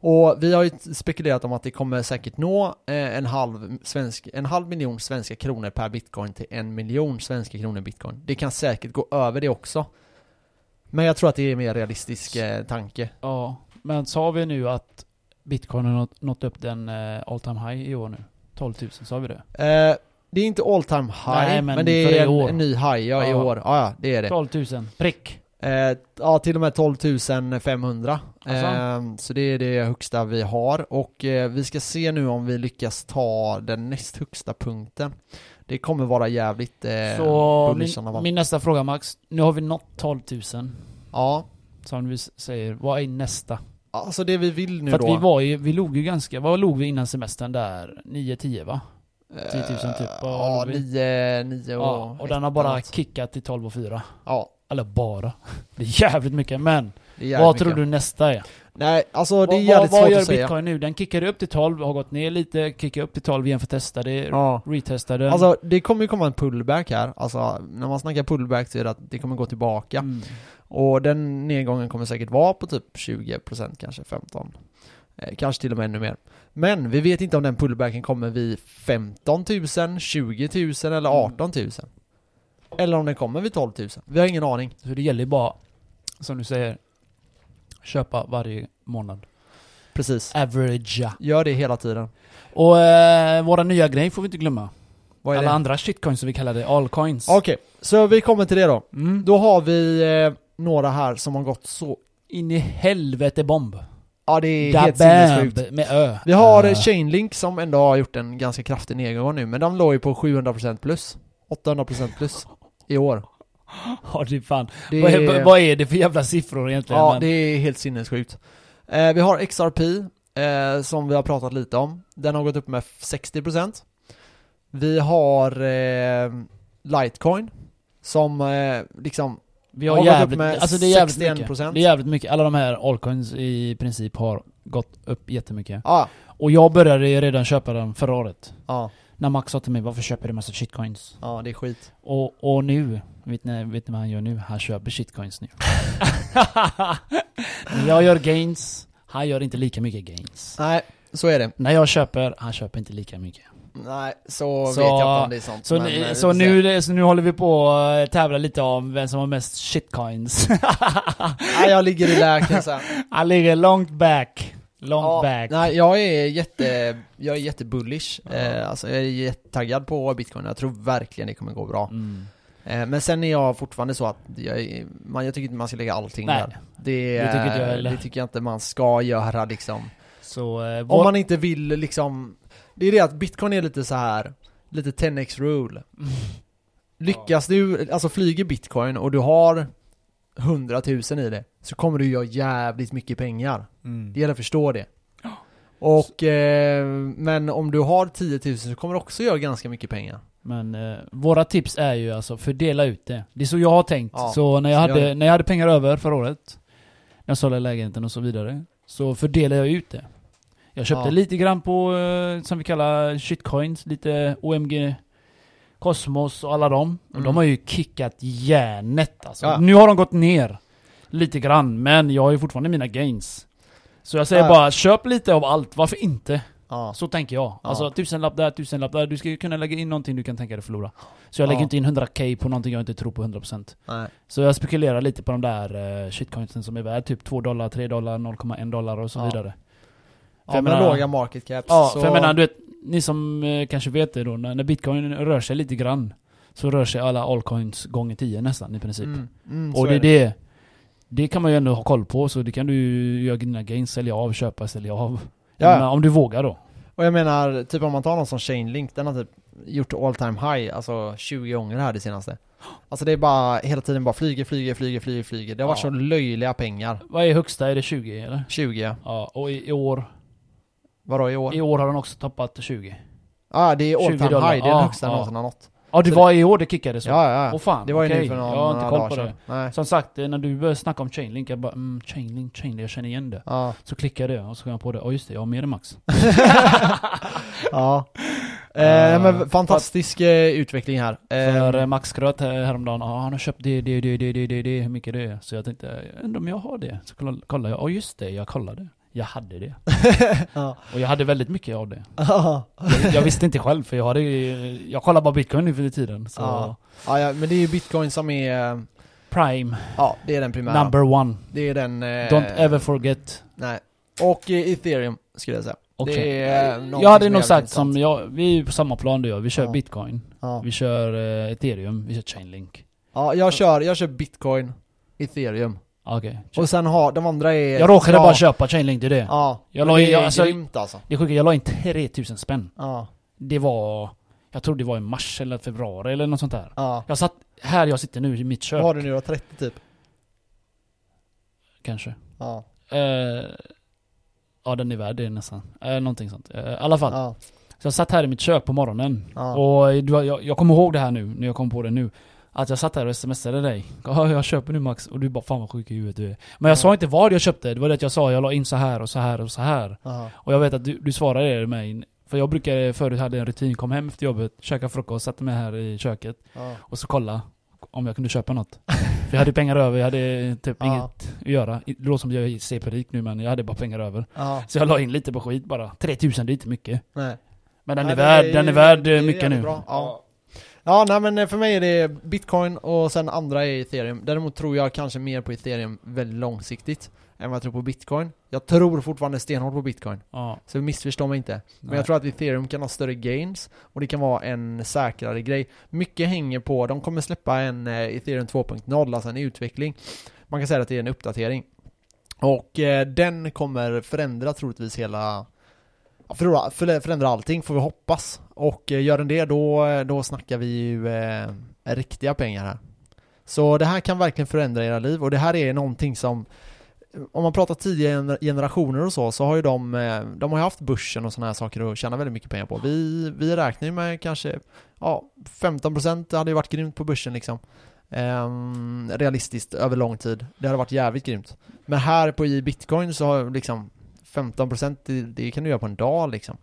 [SPEAKER 1] Och vi har ju spekulerat om att det kommer säkert nå eh, en halv, svensk, en halv miljon svenska kronor per bitcoin till en miljon svenska kronor bitcoin. Det kan säkert gå över det också. Men jag tror att det är en mer realistisk eh, tanke.
[SPEAKER 2] Ja, men sa vi nu att bitcoin har nått, nått upp den eh, all time high i år nu? 12 000, sa vi det?
[SPEAKER 1] Eh, det är inte all time high,
[SPEAKER 2] Nej,
[SPEAKER 1] men,
[SPEAKER 2] men
[SPEAKER 1] det
[SPEAKER 2] för i
[SPEAKER 1] är en,
[SPEAKER 2] år.
[SPEAKER 1] en ny high ja, i
[SPEAKER 2] Ja.
[SPEAKER 1] år. Ja, ja, det är det.
[SPEAKER 2] 12 000, prick!
[SPEAKER 1] Eh, ja, till och med 12 500.
[SPEAKER 2] Alltså.
[SPEAKER 1] Eh, så det är det högsta vi har. Och eh, vi ska se nu om vi lyckas ta den näst högsta punkten. Det kommer vara jävligt eh,
[SPEAKER 2] Så
[SPEAKER 1] bullish i sådana
[SPEAKER 2] min,
[SPEAKER 1] fall.
[SPEAKER 2] min nästa fråga Max, nu har vi nått 12 000.
[SPEAKER 1] Ja,
[SPEAKER 2] Som vi s- säger, vad är nästa?
[SPEAKER 1] alltså det vi vill nu
[SPEAKER 2] För att
[SPEAKER 1] då.
[SPEAKER 2] vi var ju, vi låg ju ganska, vad låg vi innan semestern där? 9-10 va? 10 000 typ,
[SPEAKER 1] Eh,
[SPEAKER 2] vad
[SPEAKER 1] Ja,
[SPEAKER 2] låg vi?
[SPEAKER 1] 9, 9 och...
[SPEAKER 2] Ja, och
[SPEAKER 1] ett
[SPEAKER 2] den
[SPEAKER 1] eller
[SPEAKER 2] har bara
[SPEAKER 1] något.
[SPEAKER 2] kickat till 12 och 4.
[SPEAKER 1] Ja,
[SPEAKER 2] Eller bara. Det är jävligt mycket, men
[SPEAKER 1] det är jävligt
[SPEAKER 2] vad tror
[SPEAKER 1] mycket.
[SPEAKER 2] du nästa är?
[SPEAKER 1] Nej, alltså det är
[SPEAKER 2] Vad- vad,
[SPEAKER 1] jävligt
[SPEAKER 2] vad
[SPEAKER 1] svårt
[SPEAKER 2] gör
[SPEAKER 1] att säga.
[SPEAKER 2] bitcoin nu? Den kickade upp till 12, har gått ner lite, kickade upp till 12 igen för att testa det,
[SPEAKER 1] Ja.
[SPEAKER 2] retesta den.
[SPEAKER 1] Alltså det kommer ju komma en pullback här. Alltså när man snackar pullback så är det att det kommer gå tillbaka.
[SPEAKER 2] Mm.
[SPEAKER 1] Och den nedgången kommer säkert vara på typ 20% kanske 15 eh, Kanske till och med ännu mer Men vi vet inte om den pullbacken kommer vid 15 000, 20 000 eller
[SPEAKER 2] Mm.
[SPEAKER 1] 18 000 Eller om den kommer vid 12 000 Vi har ingen aning
[SPEAKER 2] Så det gäller ju bara, som du säger, köpa varje månad.
[SPEAKER 1] Precis
[SPEAKER 2] Averagea.
[SPEAKER 1] Gör det hela tiden
[SPEAKER 2] Och eh, våra nya grej får vi inte glömma.
[SPEAKER 1] Vad är
[SPEAKER 2] Alla
[SPEAKER 1] det?
[SPEAKER 2] andra shitcoins som vi kallar det, allcoins.
[SPEAKER 1] Okej, så vi kommer till det då
[SPEAKER 2] Mm.
[SPEAKER 1] Då har vi eh, några här som har gått så
[SPEAKER 2] In i helvete bomb.
[SPEAKER 1] Ja det är helt sinnessjukt
[SPEAKER 2] Dabab med ö.
[SPEAKER 1] Vi har
[SPEAKER 2] Eh,
[SPEAKER 1] uh. Chainlink som ändå har gjort en ganska kraftig nedgång nu, men de låg ju på 700% plus. 800% plus i år.
[SPEAKER 2] Ja, det är fan.
[SPEAKER 1] Det
[SPEAKER 2] Vad, är,
[SPEAKER 1] är,
[SPEAKER 2] vad är det för jävla siffror egentligen?
[SPEAKER 1] ja,
[SPEAKER 2] Men-
[SPEAKER 1] det är helt sinnessjukt. Eh, vi har XRP eh, som vi har pratat lite om. Den har gått upp med 60%. Vi har eh, Litecoin som eh, liksom
[SPEAKER 2] Vi har
[SPEAKER 1] Har gått upp
[SPEAKER 2] jävligt,
[SPEAKER 1] med
[SPEAKER 2] alltså det är jävligt
[SPEAKER 1] 61%.
[SPEAKER 2] mycket. Det är jävligt mycket. Alla de här altcoins i princip har gått upp jättemycket.
[SPEAKER 1] Ja,
[SPEAKER 2] Och jag började ju redan köpa den förra året.
[SPEAKER 1] ja,
[SPEAKER 2] När Max sa till mig 'Varför köper du massa shitcoins?'
[SPEAKER 1] ja det är skit.
[SPEAKER 2] Och, och nu, vet ni, vet ni vad han gör nu? Han köper shitcoins nu. När jag gör gains, han gör inte lika mycket gains.
[SPEAKER 1] Nej, så är det.
[SPEAKER 2] När jag köper, han köper inte lika mycket.
[SPEAKER 1] Nej, så,
[SPEAKER 2] Så-
[SPEAKER 1] vet jag inte om det är sant.
[SPEAKER 2] Så,
[SPEAKER 1] men, eh, vi
[SPEAKER 2] ni,
[SPEAKER 1] får
[SPEAKER 2] så,
[SPEAKER 1] se.
[SPEAKER 2] nu, så nu håller vi på att tävla lite om vem som har mest shitcoins.
[SPEAKER 1] Nej, jag ligger i lä kan jag säga.
[SPEAKER 2] han ligger långt back. Långt
[SPEAKER 1] Ja,
[SPEAKER 2] back.
[SPEAKER 1] Nej, jag är jätte, jag är jättebullish. Eh, alltså jag är jättetaggad på bitcoin. Jag tror verkligen det kommer gå bra.
[SPEAKER 2] Mm.
[SPEAKER 1] Eh, men sen är jag fortfarande så att jag, är- man, jag tycker inte man ska lägga allting
[SPEAKER 2] Nej.
[SPEAKER 1] där. Det,
[SPEAKER 2] Det tycker inte jag
[SPEAKER 1] det,
[SPEAKER 2] heller.
[SPEAKER 1] det tycker jag inte man ska göra liksom.
[SPEAKER 2] Så, eh,
[SPEAKER 1] Om
[SPEAKER 2] vår,
[SPEAKER 1] man inte vill liksom, det är det att bitcoin är lite så här, lite 10x rule.
[SPEAKER 2] Mm.
[SPEAKER 1] Lyckas du, alltså flyger bitcoin och du har 100 000 i det, så kommer du göra jävligt mycket pengar.
[SPEAKER 3] Mm.
[SPEAKER 1] Det gäller att förstå det. Och, eh, men om du har 10 000 så kommer du också göra ganska mycket pengar.
[SPEAKER 2] men eh, våra tips är ju alltså fördela ut det. Det är så jag har tänkt.
[SPEAKER 1] Ja,
[SPEAKER 2] Så när jag,
[SPEAKER 1] så
[SPEAKER 2] hade,
[SPEAKER 1] gör det.
[SPEAKER 2] när jag hade pengar över förra året, när jag sålde lägenheten och så vidare, så fördelade jag ut det. Jag köpte
[SPEAKER 1] Ja.
[SPEAKER 2] lite grann på, eh, som vi kallar shitcoins, lite OMG Cosmos och alla dem. Och
[SPEAKER 1] Mm.
[SPEAKER 2] de har ju kickat järnet alltså.
[SPEAKER 1] Ja.
[SPEAKER 2] Nu har de gått ner lite grann, men jag har ju fortfarande mina gains. Så jag säger
[SPEAKER 1] Ja.
[SPEAKER 2] bara, köp lite av allt, varför inte?
[SPEAKER 1] Ja.
[SPEAKER 2] Så tänker jag.
[SPEAKER 1] Ja.
[SPEAKER 2] Alltså tusenlapp där, tusenlapp där. Du ska ju kunna lägga in någonting du kan tänka dig förlora. Så jag lägger
[SPEAKER 1] Ja.
[SPEAKER 2] inte in 100k på någonting jag inte tror på 100%.
[SPEAKER 1] Nej.
[SPEAKER 2] Så jag spekulerar lite på de där uh, shitcoinsen som är värd typ 2 dollar, 3 dollar, 0,1 dollar och så
[SPEAKER 1] Ja.
[SPEAKER 2] vidare. För
[SPEAKER 1] Ja,
[SPEAKER 2] jag
[SPEAKER 1] med
[SPEAKER 2] menar-
[SPEAKER 1] låga market caps.
[SPEAKER 2] Ja,
[SPEAKER 1] så...
[SPEAKER 2] för jag menar du vet, ni som eh, kanske vet det då, när, när bitcoin rör sig lite grann så rör sig alla allcoins gånger 10 nästan i princip.
[SPEAKER 1] Mm, mm, så
[SPEAKER 2] och det är det. Det kan man ju ändå ha koll på, så det kan du ju göra dina gains, sälja av, köpa, sälja av.
[SPEAKER 1] Ja.
[SPEAKER 2] Jag menar, om du vågar då.
[SPEAKER 1] Och jag menar, typ om man tar någon som Chainlink, den har typ gjort all time high, alltså 20 gånger här det senaste. Alltså det är bara, hela tiden bara flyger, flyger, flyger, flyger, flyger. Det har varit så
[SPEAKER 2] Ja.
[SPEAKER 1] löjliga pengar.
[SPEAKER 2] Vad är högsta? Är det 20 eller?
[SPEAKER 1] 20,
[SPEAKER 2] Ja, och i, i år
[SPEAKER 1] vadå i år?
[SPEAKER 2] I år har den också tappat 20.
[SPEAKER 1] Ja, ah, det är all
[SPEAKER 2] 20
[SPEAKER 1] time
[SPEAKER 2] dollar.
[SPEAKER 1] high, det är
[SPEAKER 2] Ja,
[SPEAKER 1] den högsta
[SPEAKER 2] ja.
[SPEAKER 1] någonsin har nått.
[SPEAKER 2] Ja, det
[SPEAKER 1] Så-
[SPEAKER 2] var i år det kickade så.
[SPEAKER 1] Ja, ja,
[SPEAKER 2] Åh
[SPEAKER 1] ja.
[SPEAKER 2] fan,
[SPEAKER 1] Det var ju
[SPEAKER 2] okej.
[SPEAKER 1] nu för någon,
[SPEAKER 2] Jag har inte
[SPEAKER 1] några
[SPEAKER 2] koll
[SPEAKER 1] dagar
[SPEAKER 2] på det.
[SPEAKER 1] sedan. Nej.
[SPEAKER 2] Som sagt, eh, när du började snacka om Chainlink, jag bara mm, Chainlink, Chainlink, jag känner igen det.
[SPEAKER 1] Ja.
[SPEAKER 2] Så klickade jag och så kom jag på det, ja just det, jag har mer än Max.
[SPEAKER 1] Ja. Eh,
[SPEAKER 2] Eh,
[SPEAKER 1] men fantastisk eh, utveckling här. Eh,
[SPEAKER 2] För eh, Max skröt här- häromdagen, ja han har köpt det, det, det, det, det, det, det, hur mycket det är. Så jag tänkte, jag undrar om jag har det? Så kolla- kollade jag, ja just det, jag kollade. Jag hade det. eh,
[SPEAKER 1] Ja.
[SPEAKER 2] Och jag hade väldigt mycket av det.
[SPEAKER 1] ja,
[SPEAKER 2] Jag, jag visste inte själv för jag hade ju- jag kollar bara bitcoin nu för tiden. Så
[SPEAKER 1] Ja. ja, men det är ju bitcoin som är, eh,
[SPEAKER 2] prime,
[SPEAKER 1] ja det är den primära.
[SPEAKER 2] number one.
[SPEAKER 1] Det är den... Eh,
[SPEAKER 2] Don't ever forget.
[SPEAKER 1] Nej. Och eh, ethereum skulle jag säga.
[SPEAKER 2] Okej.
[SPEAKER 1] Det är eh, någonting
[SPEAKER 2] Jag hade
[SPEAKER 1] som är
[SPEAKER 2] nog sagt
[SPEAKER 1] jävligt
[SPEAKER 2] som
[SPEAKER 1] intressant.
[SPEAKER 2] jag, vi är ju på samma plan du och jag. Vi kör
[SPEAKER 1] Ja.
[SPEAKER 2] bitcoin,
[SPEAKER 1] Ja.
[SPEAKER 2] vi kör eh, ethereum, vi kör chainlink.
[SPEAKER 1] ja, jag kör, jag kör bitcoin, ethereum.
[SPEAKER 2] Ah, Okej.
[SPEAKER 1] Och sen har, de andra är...
[SPEAKER 2] Jag råkade
[SPEAKER 1] ja,
[SPEAKER 2] bara köpa chainlink, det är det.
[SPEAKER 1] Ja.
[SPEAKER 2] Jag
[SPEAKER 1] Men
[SPEAKER 2] la i-
[SPEAKER 1] det är
[SPEAKER 2] jag- alltså-
[SPEAKER 1] grymt alltså.
[SPEAKER 2] Det sjuka, jag la in 3000 spänn.
[SPEAKER 1] Ja.
[SPEAKER 2] Det var, jag tror det var i mars eller februari eller något sånt där.
[SPEAKER 1] Ja.
[SPEAKER 2] Jag satt här jag sitter nu i mitt
[SPEAKER 1] Vad
[SPEAKER 2] kök
[SPEAKER 1] har du nu då? 30 typ?
[SPEAKER 2] kanske.
[SPEAKER 1] Ja.
[SPEAKER 2] Eh, ja den är värd det nästan. Eh, någonting sånt. Eh, I alla fall.
[SPEAKER 1] Ja.
[SPEAKER 2] Så jag satt här i mitt kök på morgonen.
[SPEAKER 1] Ja.
[SPEAKER 2] Och du, har- jag, jag kommer ihåg det här nu, när jag kom på det nu. Att jag satt här och smsade dig. Ja, jag köper nu Max. Och du bara 'Fan vad sjuk i huvudet du är' Men
[SPEAKER 1] Ja.
[SPEAKER 2] jag sa inte vad jag köpte. Det var det att jag sa, jag la in så här och så här och så här.
[SPEAKER 1] Ja.
[SPEAKER 2] Och jag vet att du, du svarade mig. För jag brukade förut hade en rutin, kom hem efter jobbet, käka frukost, satte mig här i köket.
[SPEAKER 1] Ja.
[SPEAKER 2] Och så kolla om jag kunde köpa något. För jag hade pengar över, jag hade typ
[SPEAKER 1] Ja.
[SPEAKER 2] inget att göra. Det låter som jag är cp-rik nu men jag hade bara pengar över.
[SPEAKER 1] Ja.
[SPEAKER 2] Så jag la in lite på skit bara. 3000 det är inte mycket.
[SPEAKER 1] Nej.
[SPEAKER 2] Men den
[SPEAKER 1] Nej,
[SPEAKER 2] är
[SPEAKER 1] men
[SPEAKER 2] värd,
[SPEAKER 1] det
[SPEAKER 2] den är
[SPEAKER 1] ju-
[SPEAKER 2] värd
[SPEAKER 1] det
[SPEAKER 2] eh, mycket
[SPEAKER 1] jävligt
[SPEAKER 2] nu.
[SPEAKER 1] Bra. Ja. ja, nej men eh, för mig är det bitcoin och sen andra är ethereum. Däremot tror jag kanske mer på ethereum väldigt långsiktigt än vad jag tror på bitcoin. Jag tror fortfarande stenhårt på bitcoin,
[SPEAKER 2] Ja.
[SPEAKER 1] så missförstå mig inte. Men
[SPEAKER 2] Nej.
[SPEAKER 1] jag tror att ethereum kan ha större gains och det kan vara en säkrare grej. Mycket hänger på, de kommer släppa en eh, ethereum 2.0, alltså en utveckling. Man kan säga att det är en uppdatering. Och eh, den kommer förändra troligtvis hela Ja, förlora- förlä- förändra allting får vi hoppas. Och eh, gör den det då, eh, då snackar vi ju eh, riktiga pengar här. Så det här kan verkligen förändra era liv och det här är någonting som om man pratar tidiga gener- generationer och så, så har ju de, eh, de har ju haft börsen och sådana här saker att tjäna väldigt mycket pengar på. Vi, vi räknar ju med kanske, ja, 15% hade ju varit grymt på börsen liksom. Ehm, realistiskt över lång tid. Det hade varit jävligt grymt. Men här på i bitcoin så har liksom 15% det, det kan du göra på en dag liksom.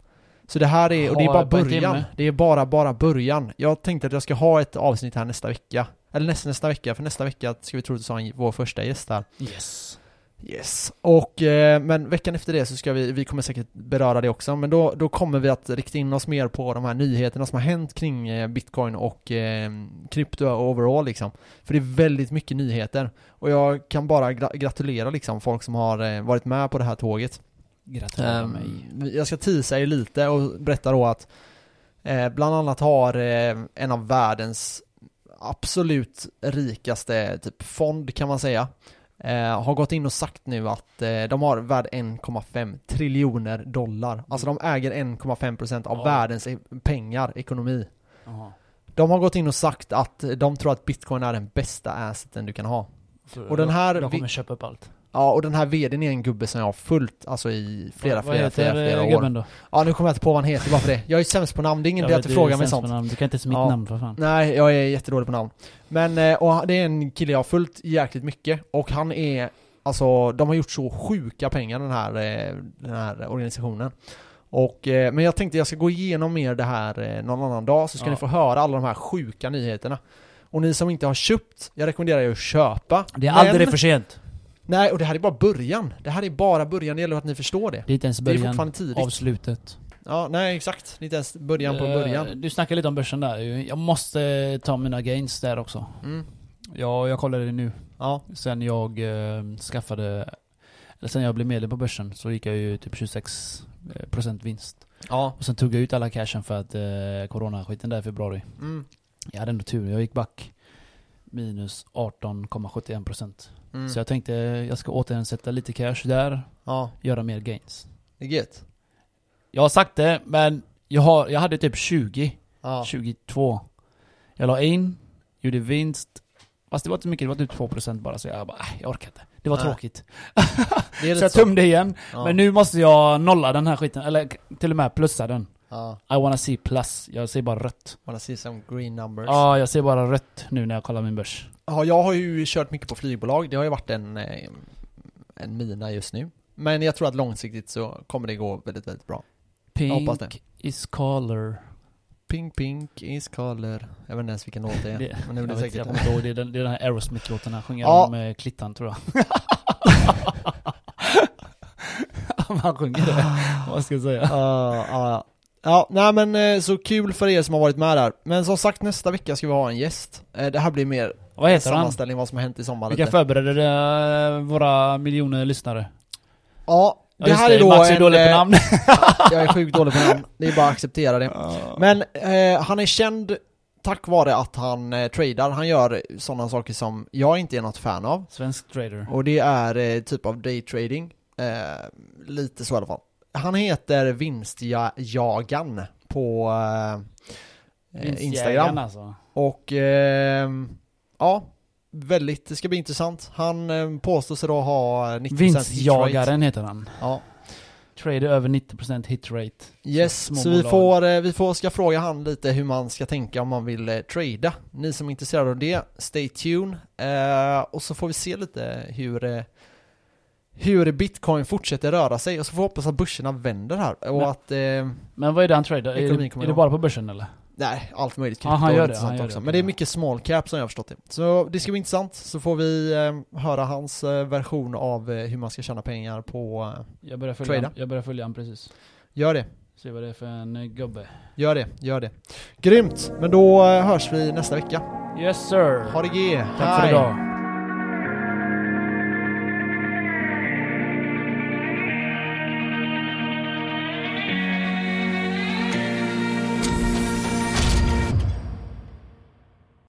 [SPEAKER 1] Så det här är, och det är
[SPEAKER 2] Ja,
[SPEAKER 1] bara
[SPEAKER 2] på en
[SPEAKER 1] början.
[SPEAKER 2] timme.
[SPEAKER 1] Det är bara, bara början. Jag tänkte att jag ska ha ett avsnitt här nästa vecka. Eller nästa, nästa vecka, för nästa vecka ska vi troligtvis ha en, vår första gäst här.
[SPEAKER 2] Yes.
[SPEAKER 1] Yes. Och, eh, men veckan efter det så ska vi, vi kommer säkert beröra det också, men då, då kommer vi att rikta in oss mer på de här nyheterna som har hänt kring eh, bitcoin och eh, krypto overall liksom. För det är väldigt mycket nyheter. Och jag kan bara gra- gratulera liksom folk som har eh, varit med på det här tåget.
[SPEAKER 2] Gratulerar
[SPEAKER 1] Ehm,
[SPEAKER 2] mig.
[SPEAKER 1] Jag ska teasa er lite och berätta då att eh, bland annat har eh, en av världens absolut rikaste typ fond kan man säga eh, har gått in och sagt nu att eh, de har värd 1,5 triljoner dollar. Alltså de äger 1,5% av
[SPEAKER 2] Ja.
[SPEAKER 1] världens e- pengar, ekonomi.
[SPEAKER 2] Jaha.
[SPEAKER 1] De har gått in och sagt att de tror att bitcoin är den bästa asseten du kan ha. Och den här...
[SPEAKER 2] De kommer köpa upp allt.
[SPEAKER 1] Ja, och den här vdn är en gubbe som jag har följt alltså i flera,
[SPEAKER 2] Vad- vad
[SPEAKER 1] flera,
[SPEAKER 2] heter,
[SPEAKER 1] flera, flera,
[SPEAKER 2] eh,
[SPEAKER 1] år.
[SPEAKER 2] gubben Då?
[SPEAKER 1] Ja nu kommer jag inte på vad han heter bara för det. Jag är sämst på namn, det är ingen
[SPEAKER 2] Jag
[SPEAKER 1] idé
[SPEAKER 2] vet,
[SPEAKER 1] att du
[SPEAKER 2] det
[SPEAKER 1] frågar mig
[SPEAKER 2] känns
[SPEAKER 1] sånt.
[SPEAKER 2] med namn. Du kan inte ens mitt
[SPEAKER 1] Ja.
[SPEAKER 2] namn för fan.
[SPEAKER 1] Nej, jag är jättedålig på namn. Men, eh, och han- det är en kille jag har följt jäkligt mycket och han är, alltså de har gjort så sjuka pengar den här, eh, den här organisationen. Och, eh, men jag tänkte jag ska gå igenom mer det här eh, någon annan dag så ska
[SPEAKER 2] Ja.
[SPEAKER 1] ni få höra alla de här sjuka nyheterna. Och ni som inte har köpt, jag rekommenderar er att köpa.
[SPEAKER 2] Det är
[SPEAKER 1] Men-
[SPEAKER 2] aldrig för sent.
[SPEAKER 1] Nej, och det här är bara början. Det här är bara början, det gäller att ni förstår det.
[SPEAKER 2] Det är inte ens
[SPEAKER 1] Det är
[SPEAKER 2] början
[SPEAKER 1] fortfarande tidigt.
[SPEAKER 2] av slutet.
[SPEAKER 1] Ja, nej exakt. Det är inte ens början på början.
[SPEAKER 2] Eh, Du snackade lite om börsen där. Jag måste eh, ta mina gains där också.
[SPEAKER 1] Mm.
[SPEAKER 2] Ja, jag kollar det nu.
[SPEAKER 1] Ja,
[SPEAKER 2] Sen jag eh, skaffade, eller sen jag blev medlem på börsen så gick jag ju typ 26% vinst.
[SPEAKER 1] ja.
[SPEAKER 2] Och sen tog jag ut alla cashen för att eh, coronaskiten där i februari.
[SPEAKER 1] Mm.
[SPEAKER 2] Jag hade ändå tur, jag gick back minus 18,71%.
[SPEAKER 1] Mm.
[SPEAKER 2] Så jag tänkte eh, jag ska återinsätta lite cash där,
[SPEAKER 1] Ja,
[SPEAKER 2] göra mer gains.
[SPEAKER 1] det är gött.
[SPEAKER 2] Jag har sagt det, men jag, har, jag hade typ 20,
[SPEAKER 1] Ja.
[SPEAKER 2] 22. Jag la in, gjorde vinst. Fast det var inte så mycket, det var typ 2% bara så jag bara, äh, jag orkar inte. Det var
[SPEAKER 1] Nej.
[SPEAKER 2] tråkigt.
[SPEAKER 1] Det är lite
[SPEAKER 2] Så jag tömde igen.
[SPEAKER 1] Ja.
[SPEAKER 2] Men nu måste jag nolla den här skiten, eller k- till och med plussa den.
[SPEAKER 1] Ja,
[SPEAKER 2] I wanna see plus. Jag ser bara rött.
[SPEAKER 1] wanna see some green numbers.
[SPEAKER 2] Ja, jag ser bara rött nu när jag kollar min börs.
[SPEAKER 1] Ja, jag har ju kört mycket på flygbolag. Det har ju varit en, eh, en mina just nu. Men jag tror att långsiktigt så kommer det gå väldigt, väldigt bra. hoppas
[SPEAKER 2] Pink is color.
[SPEAKER 1] Pink pink is color. Jag vet inte ens vilken låt det är.
[SPEAKER 2] Det-
[SPEAKER 1] men det är väl
[SPEAKER 2] Jag vet inte,
[SPEAKER 1] säkert.
[SPEAKER 2] jag kommer inte ihåg. Det är den, det är den här Aerosmith-låten han sjunger
[SPEAKER 1] Ja.
[SPEAKER 2] om eh, klittan tror jag. han sjunger det. Vad ska jag säga?
[SPEAKER 1] Ja, ja. Ja, nej men eh, så kul för er som har varit med där. Men som sagt nästa vecka ska vi ha en gäst. Eh, Det här blir mer
[SPEAKER 2] Vad
[SPEAKER 1] en
[SPEAKER 2] heter han?
[SPEAKER 1] sammanställning vad som har hänt i sommar
[SPEAKER 2] Vi kan
[SPEAKER 1] lite.
[SPEAKER 2] förbereda eh, våra miljoner lyssnare.
[SPEAKER 1] Ja,
[SPEAKER 2] Ja,
[SPEAKER 1] det
[SPEAKER 2] just
[SPEAKER 1] här är då
[SPEAKER 2] Max är dålig
[SPEAKER 1] eh,
[SPEAKER 2] på namn.
[SPEAKER 1] Jag är sjukt dålig på namn, det är bara att acceptera det. Men eh, han är känd tack vare att han eh, tradar, han gör sådana saker som jag inte är något fan av.
[SPEAKER 2] Svensk trader.
[SPEAKER 1] Och det är eh, typ av daytrading, eh, lite så i alla fall. Han heter Vinstjagan på eh, eh,
[SPEAKER 2] Vinstjägaren
[SPEAKER 1] Instagram.
[SPEAKER 2] Alltså.
[SPEAKER 1] Och ehm, ja, väldigt, det ska bli intressant. Han eh, påstår sig då ha 90% hit rate.
[SPEAKER 2] Vinstjagaren heter han.
[SPEAKER 1] Ja.
[SPEAKER 2] Trader över 90% hit rate. Så
[SPEAKER 1] Yes,
[SPEAKER 2] små
[SPEAKER 1] så vi
[SPEAKER 2] bolag.
[SPEAKER 1] får, eh, vi får, ska fråga han lite hur man ska tänka om man vill eh, trada. Ni som är intresserade av det, stay tuned. Eh, och så får vi se lite hur, eh, hur bitcoin fortsätter röra sig. Och så får vi hoppas att börserna vänder här. Och
[SPEAKER 2] Men-
[SPEAKER 1] att, eh,
[SPEAKER 2] Men vad är det han tradar? Är,
[SPEAKER 1] Ekonomin
[SPEAKER 2] det-
[SPEAKER 1] kommer
[SPEAKER 2] är det
[SPEAKER 1] igång.
[SPEAKER 2] bara på börsen eller?
[SPEAKER 1] nej, allt möjligt
[SPEAKER 2] Ja, han gör
[SPEAKER 1] och
[SPEAKER 2] det,
[SPEAKER 1] intressant
[SPEAKER 2] han gör det,
[SPEAKER 1] också.
[SPEAKER 2] okej,
[SPEAKER 1] Men det är
[SPEAKER 2] ja.
[SPEAKER 1] mycket small cap som jag har förstått det. Så det ska bli intressant, så får vi eh, höra hans eh, version av eh, hur man ska tjäna pengar på... Eh,
[SPEAKER 2] Jag börjar
[SPEAKER 1] följa
[SPEAKER 2] följa,
[SPEAKER 1] Trada.
[SPEAKER 2] han, jag börjar följa han precis.
[SPEAKER 1] gör det,
[SPEAKER 2] Se vad det är för en eh, gubbe.
[SPEAKER 1] gör det, gör det. Grymt! Men då eh, hörs vi nästa vecka.
[SPEAKER 2] Yes sir!
[SPEAKER 1] Ha det G!
[SPEAKER 2] Tack för
[SPEAKER 1] Hej.
[SPEAKER 2] idag.